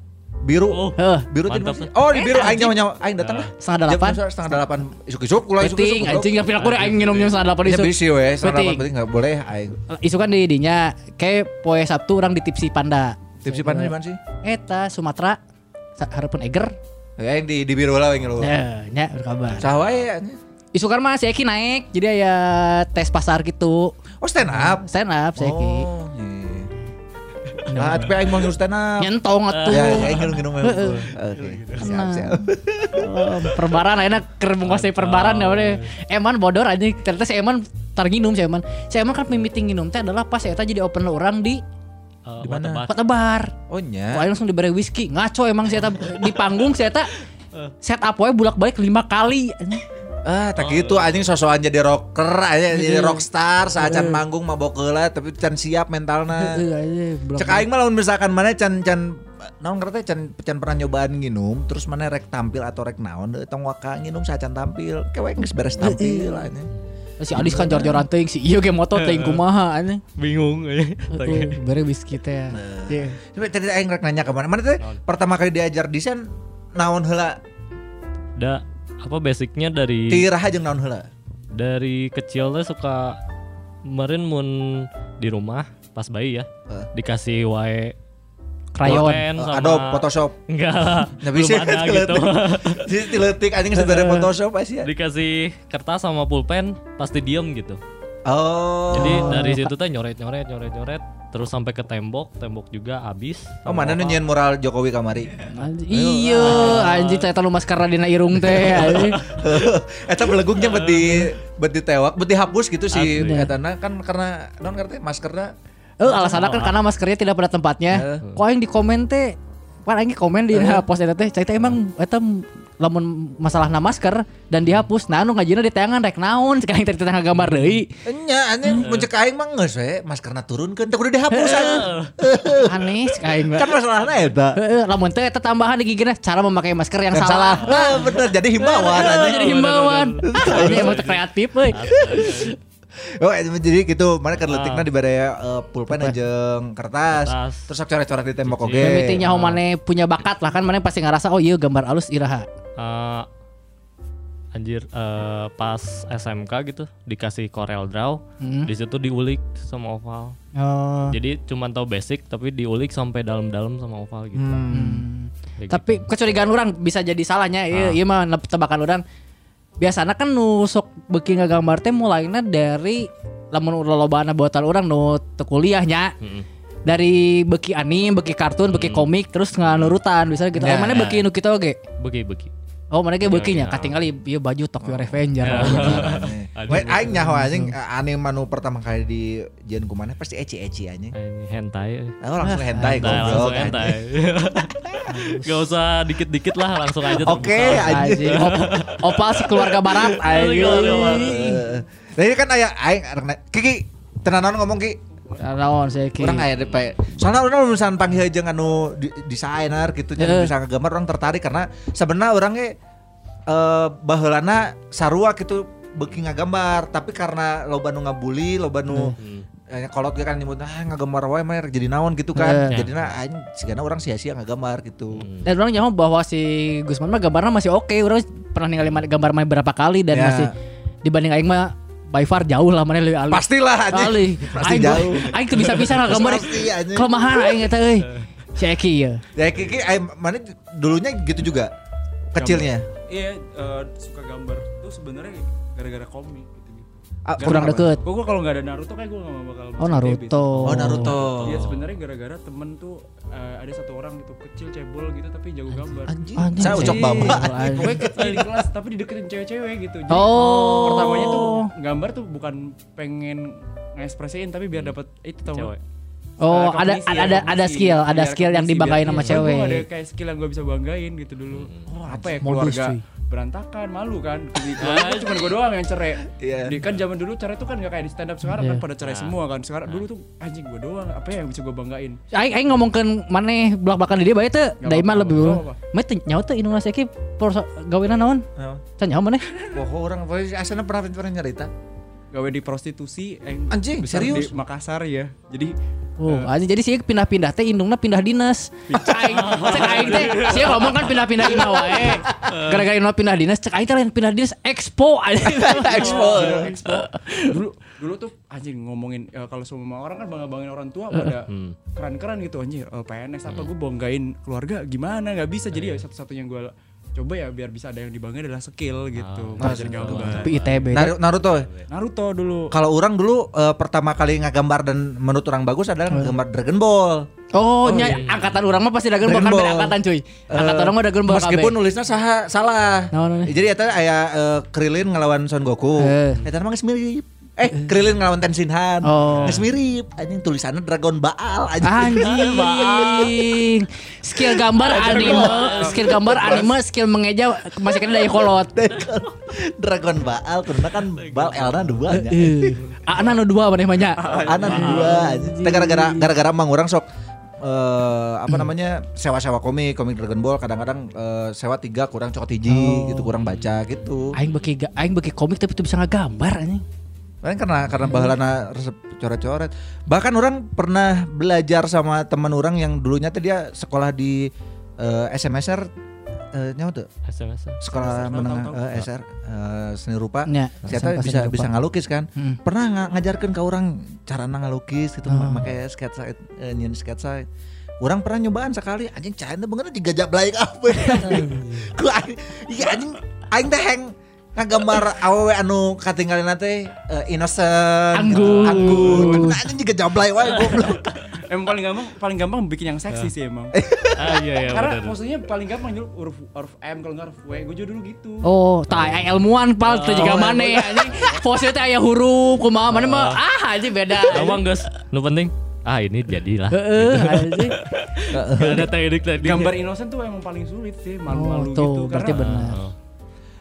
Biru.
Heeh.
biru tadi
Oh, Mantap.
masih- oh di biru aing nyawa nyawa aing datang lah
Setengah
Jam
delapan.
besar, setengah delapan isuk isuk kula isuk isuk
Penting Eh, anjing yang aku aing minum jam 8
bisa
isu.
berisi we setengah
Penting.
delapan berarti nggak boleh aing
Isu kan di dinya kayak poe Sabtu orang di tipsi panda.
tips si pandai di mana sih
Eta Sumatera sa- harapun Eger.
Ya, aing di di biru lah aing lu
Ya, nya berkabar.
sawae anjing.
Isu kan mah si Eki naik jadi aya tes pasar gitu.
oh stand up
Stand up si Eki.
oh iya. Nah, tapi aing mau nyuruh stand up
Nyentong atuh.
ya aing ngilu ngilu
Eh,
memang oke siap siap
Oh, perbaran enak keur menguasai perbaran ya bener. Eman bodor aja ternyata si Eman tar nginum si Eman. Si Eman kan meeting nginum teh adalah pas si eta jadi open orang di
Eh,
Di mana?
Waterbuck.
Kota Bar.
oh
Wah,
nya
aing langsung diberi whisky. Ngaco emang saya di panggung saya tak set up wae bolak-balik lima kali.
ah tak gitu anjing sosokan jadi rocker aja jadi rockstar
Eh.
saacan manggung mabok heula tapi can siap mentalna
Heuh, aja,
Cek
bolak-balik.
aing mah lamun misalkan mana can can naon ngerti can can pernah nyobaan nginum terus mana rek tampil atau rek naon deui tong waka nginum sacan tampil kewek geus
Eh,
beres tampil aja.
Si Adis kan jor-joran teuing si ieu ge moto teuing kumaha anjing.
Bingung. eh.
Heuh, Bere whisky teh. Iya.
Coba tadi aing rek nanya ke mana? Mana teh pertama kali diajar desain naon heula?
Da apa basicnya dari
Tiraha jeung naon heula?
dari kecilnya suka kemarin mun di rumah pas bayi ya
Eh.
dikasih wae
Crayon.
Crayon sama
Adobe, Photoshop.
[LAUGHS] Enggak lah.
Nah,
Belum
bisa [LAUGHS]
ada gitu.
Jadi diletik anjing saudara Photoshop ya aja.
[LAUGHS] Dikasih kertas sama pulpen pasti diem gitu.
Oh.
Jadi dari situ teh nyoret-nyoret nyoret-nyoret terus sampai ke tembok, tembok juga habis.
Oh mana nu nyian mural Jokowi kamari? Eh,
Anj- Iya, anjing saya terlalu maskara dina irung teh. anjing.
Eta belegungnya bet di bet ditewak, bet dihapus gitu si
Asli.
etana kan karena non ngerti maskernya
Eh alasannya kan karena maskernya tidak pada tempatnya. Kok yang di komen teh Kan aing komen di [LAUGHS] post eta teh, cai teh emang eta m- lamun masalah na masker dan dihapus. Nah, anu ngajina di tayangan rek naon sekarang teh tengah gambar [LAUGHS] deui.
Enya, anjing mencek aing mah geus we, maskerna turunkeun teh kudu dihapus anjing.
Aneh cek aing mah.
Kan masalahna eta.
Heeh, lamun teh eta tambahan di giginya cara memakai masker yang salah.
Ah, bener jadi himbauan
Heeh,
anjing.
[LAUGHS] Jadi himbauan. Ah, [LAUGHS] Ini emang teu kreatif euy.
Oh, eh, jadi gitu, mana kan letikna dibere eh, pulpen jeung kertas,
Ah. Kertas.
terus sok coret-coret di tembok oge.
Cici.
Yang penting nyaho maneh punya bakat lah kan maneh pasti ngerasa oh iya gambar alus iraha.
Eh, anjir eh, pas SMK gitu dikasih Corel Draw,
Hmm.
di situ diulik sama oval.
Oh.
Jadi cuman tahu basic tapi diulik sampai dalam-dalam sama oval gitu. Kayak gitu. Ah.
Tapi kecurigaan orang bisa jadi salahnya. Iya, iya mah nep- tebakan orang. Biasanya kan nusuk beki ngagambar teh mulainya dari lamun lolobana buatan orang nu teu kuliahnya. Dari beki anime, beki kartun, beki komik terus nganurutan bisa gitu.
Nah.
Oh, mana beki nu kita oge?
begi-begi.
Oh, mana ge bekinya?
Iya. Ah.
Katingali ieu baju Tokyo Revenger.
Aduh.
Wait, aing nyaho anjing aneh manu pertama kali di Jian Kumana pasti eci-eci anjing.
Ini Ah, hentai.
Aku langsung hentai
Nah, langsung
goblok.
hentai. [LAUGHS]
anjing.
Gak usah dikit-dikit lah, langsung aja.
Oke,
terbuka.
anjing.
Anjing. Op- Opal si keluarga
Iya,
barat. Anjing.
Eh, Nah ini kan aya aing arek- Kiki tenanan ngomong Ki.
Nah, Naon sih Ki?
Orang aya depe. Soalnya orang misalkan panggil aja anu di- desainer gitu jadi
Heeh.
bisa ngegambar orang tertarik karena sebenarnya orangnya eh baheulana sarua gitu beuki ngagambar tapi karena loba nu ngabuli, loba nu eh, kolot ge kan nyebut ah ngagambar wae mah jadi naon gitu kan.
Heeh.
Jadinya aing sigana orang sia-sia ngagambar gitu.
Dan orang nyaho bahwa si Gusman mah gambarnya masih oke. Orang pernah ningali ma- gambar main berapa kali dan
Ya.
masih dibanding aing mah by far jauh lah mana lebih alih.
Pastilah anjing.
Alih.
Pasti
aing
jauh.
jauh. Aing tuh bisa-bisa lah gambar.
Pasti, anjing.
Kelemahan aing eta euy. Si Eki ya.
Ya Kiki aing- mana dulunya gitu juga kecilnya.
Iya, eh, suka gambar tuh sebenarnya gara-gara komik gitu-gitu.
Ah,
Kurang deket.
Gue kalau nggak ada Naruto kayak gue nggak bakal.
Oh Naruto.
Oh Naruto.
Iya sebenarnya gara-gara temen tuh eh, ada satu orang gitu kecil cebol gitu tapi jago gambar.
Anjing.
Anjing,
Saya ucok
anjing.
baba.
Anjing.
Pokoknya kecil di kelas tapi dideketin cewek-cewek gitu. Jadi,
Oh.
Pertamanya tuh gambar tuh bukan pengen ngekspresiin tapi biar dapat itu tau
Cewek.
Oh, ada
Eh, kompetisi ya,
ada ada
kompetisi.
skill, ada
Biar
skill yang
kompetisi,
dibanggain
biar-
sama
Soalnya Iya, gua
cewek.
nggak ada kayak skill yang gue bisa banggain gitu dulu.
Hmm.
Oh, apa ya
modus,
keluarga
cuy.
berantakan, malu
[LAUGHS]
kan. Di keluarga cuma gue doang yang cerai.
Iya.
Di kan zaman dulu cerai tuh kan gak kayak di stand up sekarang kan
Iya.
pada cerai semua kan. Sekarang dulu tuh anjing gue doang, apa ya yang bisa gue banggain?
Aing aing ngomongkeun maneh belak belakan di dia bae teu
Nggak
da imah
apa-apa,
lebih.
nggak apa-apa.
Mah teu nyaho teu inung Eki perso- gawena naon? Can nyaho maneh?
Wah Ah, oh, orang apa sih? Asana pernah pernah nyerita.
Gawe di prostitusi yang
Anjing,
besar
serius?
di Makassar ya. Jadi
Oh, anjing jadi sih pindah-pindah teh indungna pindah dinas. Cek cek aing teh sih ngomong kan pindah-pindah ina wae. Gara-gara indungna pindah dinas, cek aing teh lain pindah dinas expo anjing.
Expo.
[LAUGHS] dulu dulu tuh anjing ngomongin eh, kalau semua orang kan bangga banggain orang tua pada
Hmm.
keren-keren gitu anjir eh, PNS apa gue banggain keluarga gimana nggak bisa jadi ya
Iya.
satu-satunya gue coba ya biar bisa ada yang dibanggain adalah skill gitu
Ah,
Belajar gambar.
Tapi ITB. kan.
Nar- Naruto.
Naruto dulu
Kalau orang dulu eh, pertama kali ngagambar dan menurut orang bagus adalah gambar Dragon Ball.
Oh, nya angkatan urang mah pasti dageun
Dragon
bakal beda
Ball.
angkatan cuy. Angkatan
iya. Eh,
urang mah dageun bakal
Meskipun Iya. nulisnya saha, salah.
Naon, naon?
Jadi eta aya eh, Krillin ngelawan Son Goku.
Eh.
Eta mah geus mirip. Eh, Krillin ngelawan Tenshinhan.
Oh.
Geus mirip. Anjing tulisannya Dragon Baal
[LAUGHS]
anjing.
Anjing. Skill gambar anime, skill gambar anime, skill mengeja masih kena dari kolot.
Dragon Baal karena kan Baal Elna dua nya.
Eh, Ana nu dua maneh mah nya.
Anak dua. Teh gara-gara gara-gara emang orang sok eh, apa namanya sewa-sewa komik komik Dragon Ball kadang-kadang eh, sewa tiga kurang cocok hiji gitu kurang baca gitu.
Aing beki ga- aing beki komik tapi tuh bisa ngagambar anjing.
Paling Kan karena karena bahalana resep coret-coret. Bahkan orang pernah belajar sama teman orang yang dulunya tuh dia sekolah di eh, SMSR eh, nyawa tuh
SMS.
sekolah menengah eh, SR eh, seni rupa.
Ya,
Ternyata
SMK seni
bisa
rupa.
bisa ngalukis kan.
Hmm.
Pernah nga- ngajarkan ke orang cara ngalukis gitu, pakai sketsa eh, nyen sketsa. Orang pernah nyobaan sekali anjing China bener digajak belaik apa.
[LAUGHS]
Ku anjing iya anjing aing teh heng ngagambar awewe anu katinggalin teh eh, innocent
Anggun.
anggun Tapi anjing digajak belaik wae goblok.
Emang paling gampang paling gampang bikin yang seksi
Iya.
sih emang.
Eh,
Ah iya iya.
Karena
bener.
maksudnya paling gampang dulu huruf huruf M kalau nggak huruf W, gue juga dulu gitu.
Oh, tai ai ilmuwan pal teh juga mana ya, anjing. Pose teh aya huruf kumaha mana mah ah anjing beda.
Gampang guys, lu penting. Ah ini jadilah.
Heeh, anjing.
Gak ada teknik tadi.
Gambar innocent tuh emang paling sulit
ya?
sih,
Oh,
malu-malu gitu.
tuh berarti Ah. benar.
Oh.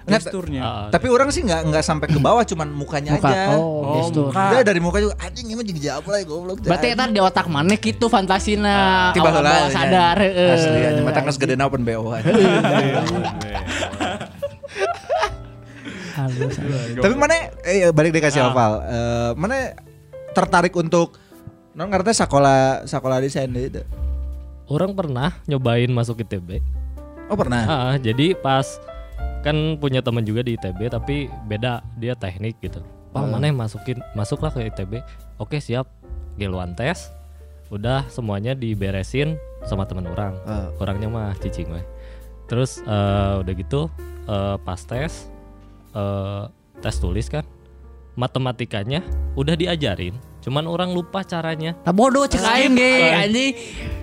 Gesturnya.
Ah,
Tapi orang sih nggak nggak sampai ke bawah cuman mukanya
Muka
aja.
oh, gestur.
muka.
Dia dari muka juga anjing emang digajak belaik goblok.
Berarti eta di otak mana gitu fantasina.
tiba
Awal
heula
bawah sadar eh. heeh.
iya. Asli anjing mata geus gedena open BO.
[LAUGHS]
anjing.
Halus.
Tapi mana eh, balik deh ke si Oval. Eh, mana tertarik untuk non ngerti sekolah sekolah desain itu.
Orang pernah nyobain masuk ITB.
Oh pernah.
Ah, [LAUGHS] jadi pas kan punya temen juga di ITB tapi beda dia teknik gitu. Pal mana yang masukin masuklah ke ITB. Oke siap geluan tes. Udah semuanya diberesin sama temen orang.
Ah.
Orangnya mah cicing weh. Terus eh, udah gitu eh, pas tes eh, tes tulis kan matematikanya udah diajarin. Cuman orang lupa caranya.
Nah, bodoh cek aing ge anjing.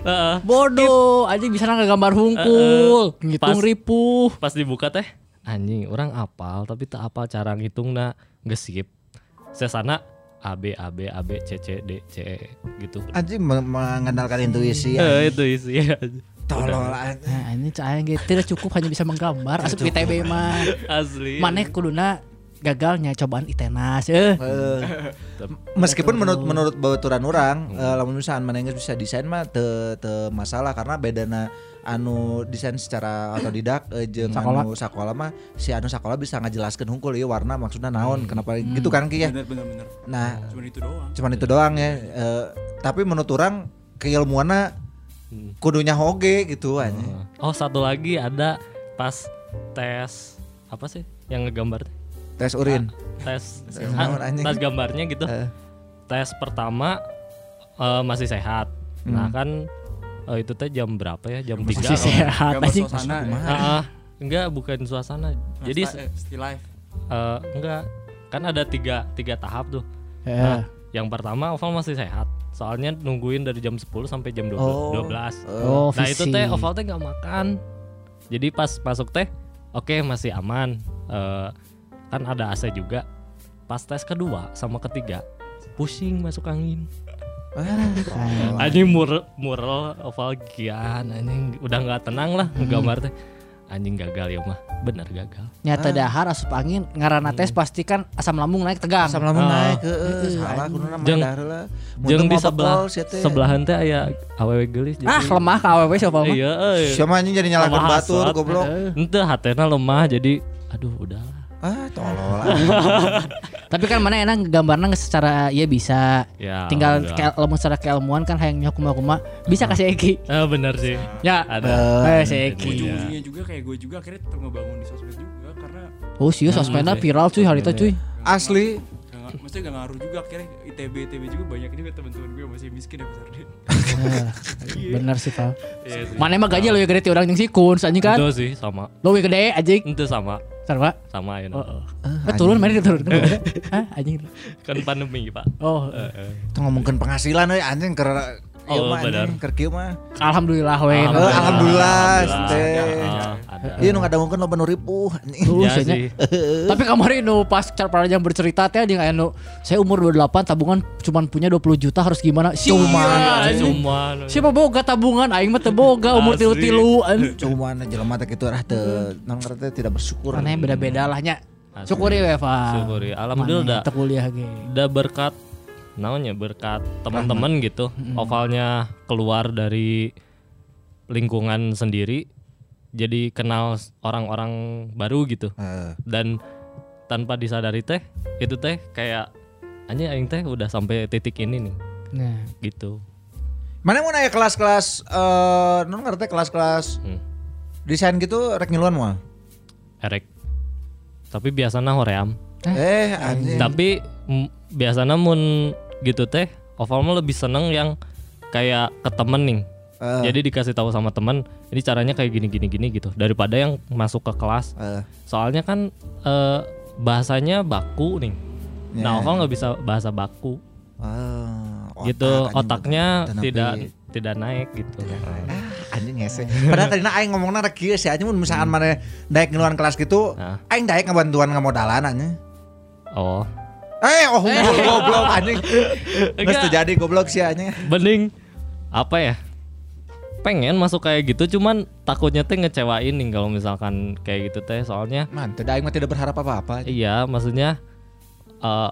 Heeh.
Bodoh anjing bisa ngegambar hungkul,
Heeh.
ngitung
Pas-
ripuh.
pas dibuka teh anjing orang apal tapi tak apal cara ngitung na gesip sesana A B A B A B C C D C E gitu
Anjing me- mengandalkan intuisi.
eh, itu isi
Tolol anjing.
Nah, ini cahaya ge tidak cukup hanya bisa menggambar asup ITB mah.
asli
Maneh kuduna gagalnya cobaan ITENAS. Eh,
Oh,
Eh, meskipun menurut menurut baturan orang, eh, lamun misalkan mana yang bisa desain mah te, te masalah karena bedana anu desain secara otodidak eh, jeung
Sakola.
anu sakola mah si anu sakola bisa ngajelaskeun hungkul ieu warna maksudnya
Hmm.
naon kenapa gitu kan Ki, ya.
Bener bener bener.
Nah,
Cuman itu doang.
cuman itu doang ya Eh, tapi menurut orang keilmuannya kudunya hoge gitu aja
oh satu lagi ada pas tes apa sih yang ngegambar teh?
tes urin
tes
naon,
ah,
anjing?
tes gambarnya gitu
Heeh.
tes pertama eh, masih sehat nah kan eh, itu teh jam berapa ya jam tiga
masih
kalau-
sehat
Gambar
anjing.
suasana.
Ah, ah. enggak bukan suasana jadi
Jadi still life.
Eh, enggak kan ada tiga tiga tahap tuh
Heeh.
Nah, yang pertama Oval masih sehat soalnya nungguin dari jam 10 sampai jam 12, 12.
Oh,
nah itu
fisik.
teh Oval teh nggak makan jadi pas masuk teh oke masih aman Eh, kan ada AC juga pas tes kedua sama ketiga pusing masuk angin
Ah.
anjing mur mural oval gian anjing udah nggak tenang lah gambar teh anjing gagal ya mah bener gagal
Nyata dahar asup angin ngarana
Hmm.
tes pasti kan asam lambung naik tegang.
asam lambung
Ah.
naik heeh salah kuduna mah
Jeung-
dahar lah
Jeung di sebelah
ya.
sebelahan teh aya awewe geulis jadi.
Ah, lemah ka awewe siapa mah.
Iya euy.
siapa anjing jadi nyalakan
Lemah
batur
hasrat.
goblok
Henteu hatena lemah jadi aduh udahlah.
ah tolol
Tapi kan mana enak gambarnya secara iya bisa.
Ya,
Tinggal
udah.
ke, lamun secara keilmuan kan hayang nyokuma-kuma bisa kasih Eki.
Eh bener sih.
Ah, Ya.
Ada.
Eh, si
Iya.
Eki.
Ujung-ujungnya juga kayak gue juga akhirnya terbangun di sosmed juga karena
Oh, sius
Nah,
sosmedna
iya.
viral cuy hari itu cuy.
asli
Gak, nga- maksudnya gak ngaruh juga akhirnya ITB ITB juga banyak juga teman-teman gue yang masih miskin ya besar deh.
Bener sih, Val. Mana emang
Nah.
gaji lu ya gede ti urang jeung si Kun, anjing kan?
Itu Iya sih sama.
Lu we gede anjing.
Henteu sama.
Sarwa.
Sama ya.
Eh, turun mana diturunkan?
[LAUGHS]
Hah, anjing.
Kan pandemi, Pak. Eh,
Oh,
itu ngomongin penghasilan euy anjing ker ieu
Oh,
mah
benar.
anjing ker kieu mah
alhamdulillah we.
Eh, alhamdulillah teh
Ah, ada.
ieu nu ngadangkeun 80 ribu anjing
Tuh,
Ya
senya.
sih.
Tapi kemarin nu pas cara yang bercerita teh jeung aya nu saya umur 28 tabungan cuman punya 20 juta harus gimana?
Iya,
Cuma
Cuman.
Siapa boga tabungan aing mah teu boga umur
Asli.
tilu-tilu. anjing.
cuman jelema teh kitu rah teu
Mm-hmm.
non ngerti tidak bersyukur
Mana yang beda-beda lah nya.
Asli.
Syukuri we, Val.
Syukuri.
Mana
Alhamdulillah.
teu kuliah ge.
Udah berkat namanya berkat teman-teman gitu. Ovalnya keluar dari lingkungan sendiri jadi kenal orang-orang baru gitu.
Eh.
Heeh.
dan tanpa disadari teh itu teh kayak anjing aing teh udah sampai titik ini nih
Nah,
gitu
Mana mau nanya kelas-kelas eh non ngerti kelas-kelas
Hmm.
desain gitu rek ngiluan moal.
erek tapi biasanya hoream
Eh anjing.
tapi m- biasanya mun gitu teh oval mah lebih seneng yang kayak ke temen nih Jadi dikasih tahu sama teman, ini caranya kayak gini gini gini gitu. Daripada yang masuk ke kelas.
Eh.
Soalnya kan eh, bahasanya baku nih. Nah, Naufal nggak bisa bahasa baku
Ah,
gitu.
otak, anjing.
Otaknya
Tanapi.
tidak tidak naik gitu.
Ah, anjing ngese. Padahal tadi aing ngomongna rek kieu sih anjing mun misalkan mana daek ngeluaran kelas gitu,
Mm. Nah.
aing daek ngabantuan ngamodalan anjing.
Oh,
Eh, oh goblok anjing. Terus
[LAUGHS] Enggak.
terjadi goblok sih anjing.
bening apa ya? Pengen masuk kayak gitu, cuman takutnya teh ngecewain nih kalau misalkan kayak gitu teh. Soalnya
Man, tidak aing mah tidak berharap apa-apa. anjing.
Iya, maksudnya eh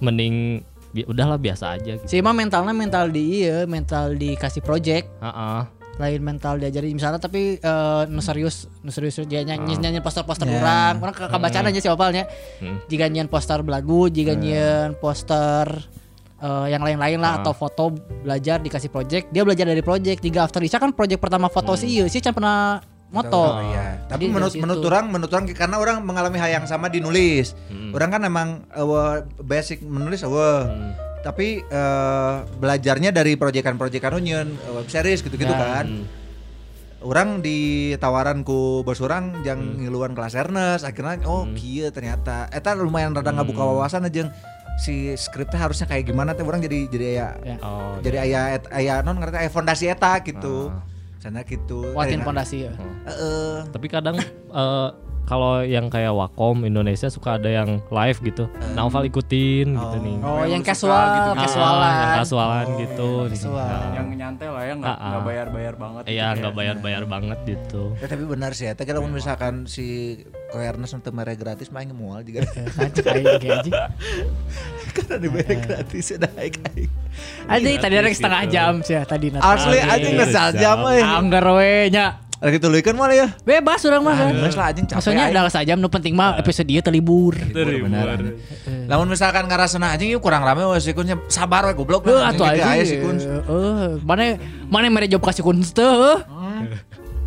mending bi- udahlah biasa aja gitu.
Si Ima mentalnya mental di iya, mental dikasih project,
Heeh.
lain mental diajari misalnya tapi eh nu serius, nu serius dia nyanyi nyanyi poster-poster orang, orang ke kebacaan aja sih opalnya. Jika nyian poster belagu, jika nyian poster eh, yang lain-lain lah atau foto belajar dikasih project, dia belajar dari project. Jika after Isya kan project pertama foto si iya sih can pernah moto.
Iya.
Jadi
Tapi
dari
menurut
situ.
menurut orang, menurut orang karena orang mengalami hal yang sama dinulis.
Hmm.
Orang kan emang eueuh, basic menulis eueuh. Tapi eh, belajarnya dari proyekan-proyekan union, web series gitu-gitu
Nah,
kan.
hmm.
Orang di tawaranku bos orang yang
Hmm.
ngiluan kelas Ernest akhirnya oh kieu ternyata eta lumayan rada
Hmm.
ngabuka wawasan aja si skripnya harusnya kayak gimana teh orang jadi jadi aya
Ya. Ah.
Oh,
jadi aya et- aya non ngerti aya fondasi eta gitu. Sana gitu. eh,
Kuatin
Tadina-
pondasi ya.
Heeh.
tapi kadang eh, kalau yang kayak Wakom Indonesia suka ada yang live gitu. Naufal ikutin gitu nih.
Oh, yang
yang lu suka
casual,
gitu-gitu.
Ah,
casualan.
yang kasualan gitu. Nah,
yang nyantai lah ya nggak
Ah, ah.
nggak bayar-bayar banget.
Iya, nggak bayar-bayar banget gitu.
Ya, tapi benar sih ya. Tapi kalau misalkan si Koernas untuk mereka gratis main mual juga.
Anjing, anjing, anjing.
Karena dibayar gratis ada naik aing.
Anjing, tadi ada yang setengah jam sih iya, ya, tadi Natal.
Asli anjing ngesal jam euy.
Anggar we nya.
Lagi tuluykeun mah ya.
Bebas orang mah. kan.
Bebas lah anjing capek.
Maksudnya
aing. Nah. Gitu
adalah saja nu penting mah episode ieu teu libur.
Benar, anjing. Lamun misalkan ngarasana anjing ieu kurang rame we si Kun sabar we goblok.
Heuh
Anjing,
atuh
gitu
aja.
aya si Kun.
Heuh, mana mana mere job kasih kun teh. heuh.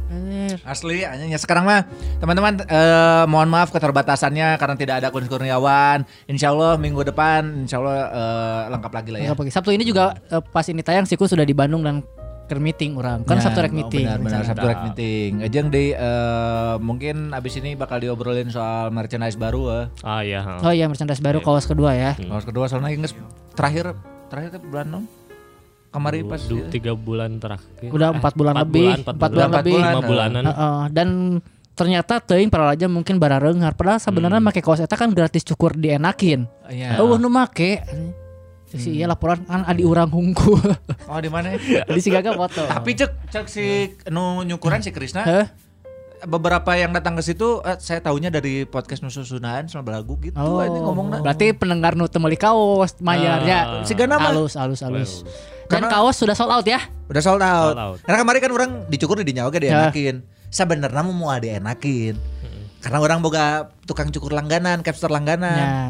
Anjir.
Asli anjing ya sekarang mah teman-teman eh, mohon maaf keterbatasannya karena tidak ada Kun Kurniawan. Insyaallah minggu depan insyaallah eh, lengkap lagi lah ya.
Nggak pakai. Sabtu ini juga eh, pas ini tayang si kun sudah di Bandung dan ker meeting orang. Kan Sabtu rek
oh,
meeting.
Benar, benar Sabtu rek meeting. Ajeng di eh, mungkin abis ini bakal diobrolin soal merchandise baru ya.
Ah iya. ha.
Oh iya merchandise baru kaos kedua ya.
Kalau kedua soalnya inges terakhir terakhir tuh bulan nom. Kemarin pas ya.
Du- tiga
Iya.
bulan terakhir.
Udah
Eh,
empat bulan lebih,
empat
empat
bulan,
bulan lebih.
lima
Nah.
bulanan.
Heeh, dan ternyata teuing para raja mungkin barareungar padahal sebenarnya make kaos eta kan gratis cukur dienakin.
Hmm. Iya.
Oh, nu make. Si iya laporan kan adi urang hungkul. [LAUGHS]
Oh di mana?
Di si Gaga foto.
Tapi cek cek si nu nyukuran si Krisna.
Hah?
Beberapa yang datang ke situ eh, saya tahunya dari podcast Nususunan sama belagu gitu
Oh,
anjing ngomongna.
berarti pendengar nu teu meuli kaos mayar ya.
Ah. Sigana mah.
Alus, alus, alus. Dan
Karena-
kaos sudah sold out ya.
Udah sold out.
Sold out.
Karena kemarin kan orang dicukur di nyawa gak
Ya.
dienakin. Sebenarnya mau mau ada enakin. Karena orang boga tukang cukur langganan, capster langganan.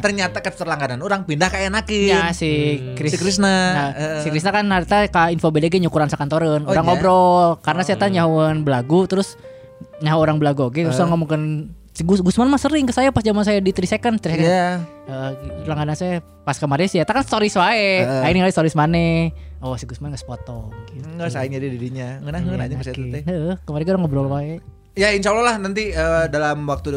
Ya.
Ternyata capster langganan orang pindah ke enakin.
Ya si Kris.
Hmm. Si Krisna.
Nah,
Eh.
si Krisna kan harta ka info BDG nyukuran sakantoreun,
Oh,
orang
iya?
ngobrol karena saya tanya nyahuan belagu terus nyaho orang belagu oke
Eh.
terus ngomongkeun si Gus Gusman mah sering ke saya pas zaman saya di 3 second, 3 second.
Iya.
Eh, langganan saya pas kemarin sih, eta kan stories wae.
Eh.
Aing ningali stories mana? Oh, si Gusman geus potong gitu.
Enggak saingnya di didinya. Ngeunah ngeunah aja kasih teh.
Heeh, Iya, kemarin kan ngobrol wae.
Ya insya Allah lah nanti eh, dalam waktu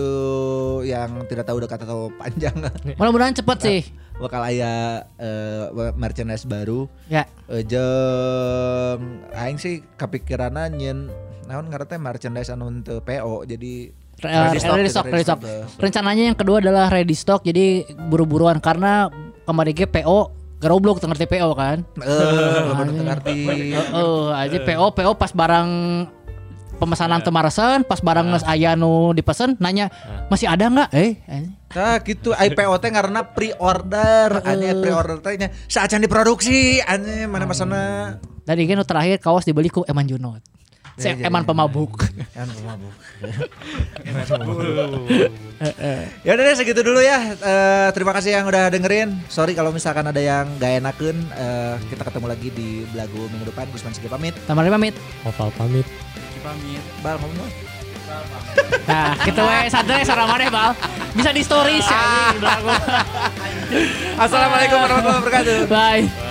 yang tidak tahu dekat atau panjang [LAUGHS]
Mudah-mudahan cepet sih.
bakal aya eh, merchandise baru.
Ya.
Eh, jeung aing sih kepikirannya nyen naon ngaran teh merchandise anu teu PO jadi
Re- uh,
ready stock,
ready
gitu,
stock,
ready
ready stock.
stock, eh.
Rencananya yang kedua adalah ready stock, jadi buru-buruan karena kemarin ge PO geroblok tengah TPO kan.
Eh, bener teu ngerti.
Heeh, aja PO PO pas barang pemesanan temaresen, pas barang geus aya nu dipesen nanya masih ada nggak? Eh, anjing.
Tah gitu IPO teh karena pre-order, anya pre-order teh nya saacan diproduksi, anya mana masana.
dan ini nu terakhir kaos dibeli ku Eman Junot.
Iya,
Si Eman pemabuk.
Kan pemabuk. Ya udah deh segitu dulu ya. Eh, terima kasih yang udah dengerin. Sorry kalau misalkan ada yang gak enakeun. Eh, kita ketemu lagi di Belagu minggu depan. Gusman Sige pamit.
Tamar pamit.
Oval pamit.
Pamit.
Bal ngomong dong.
Nah, kita we santai sarang maneh, Bal.
Ah,
Bisa di stories ya. anjing, di belakang.
Assalamualaikum warahmatullahi wabarakatuh.
Bye.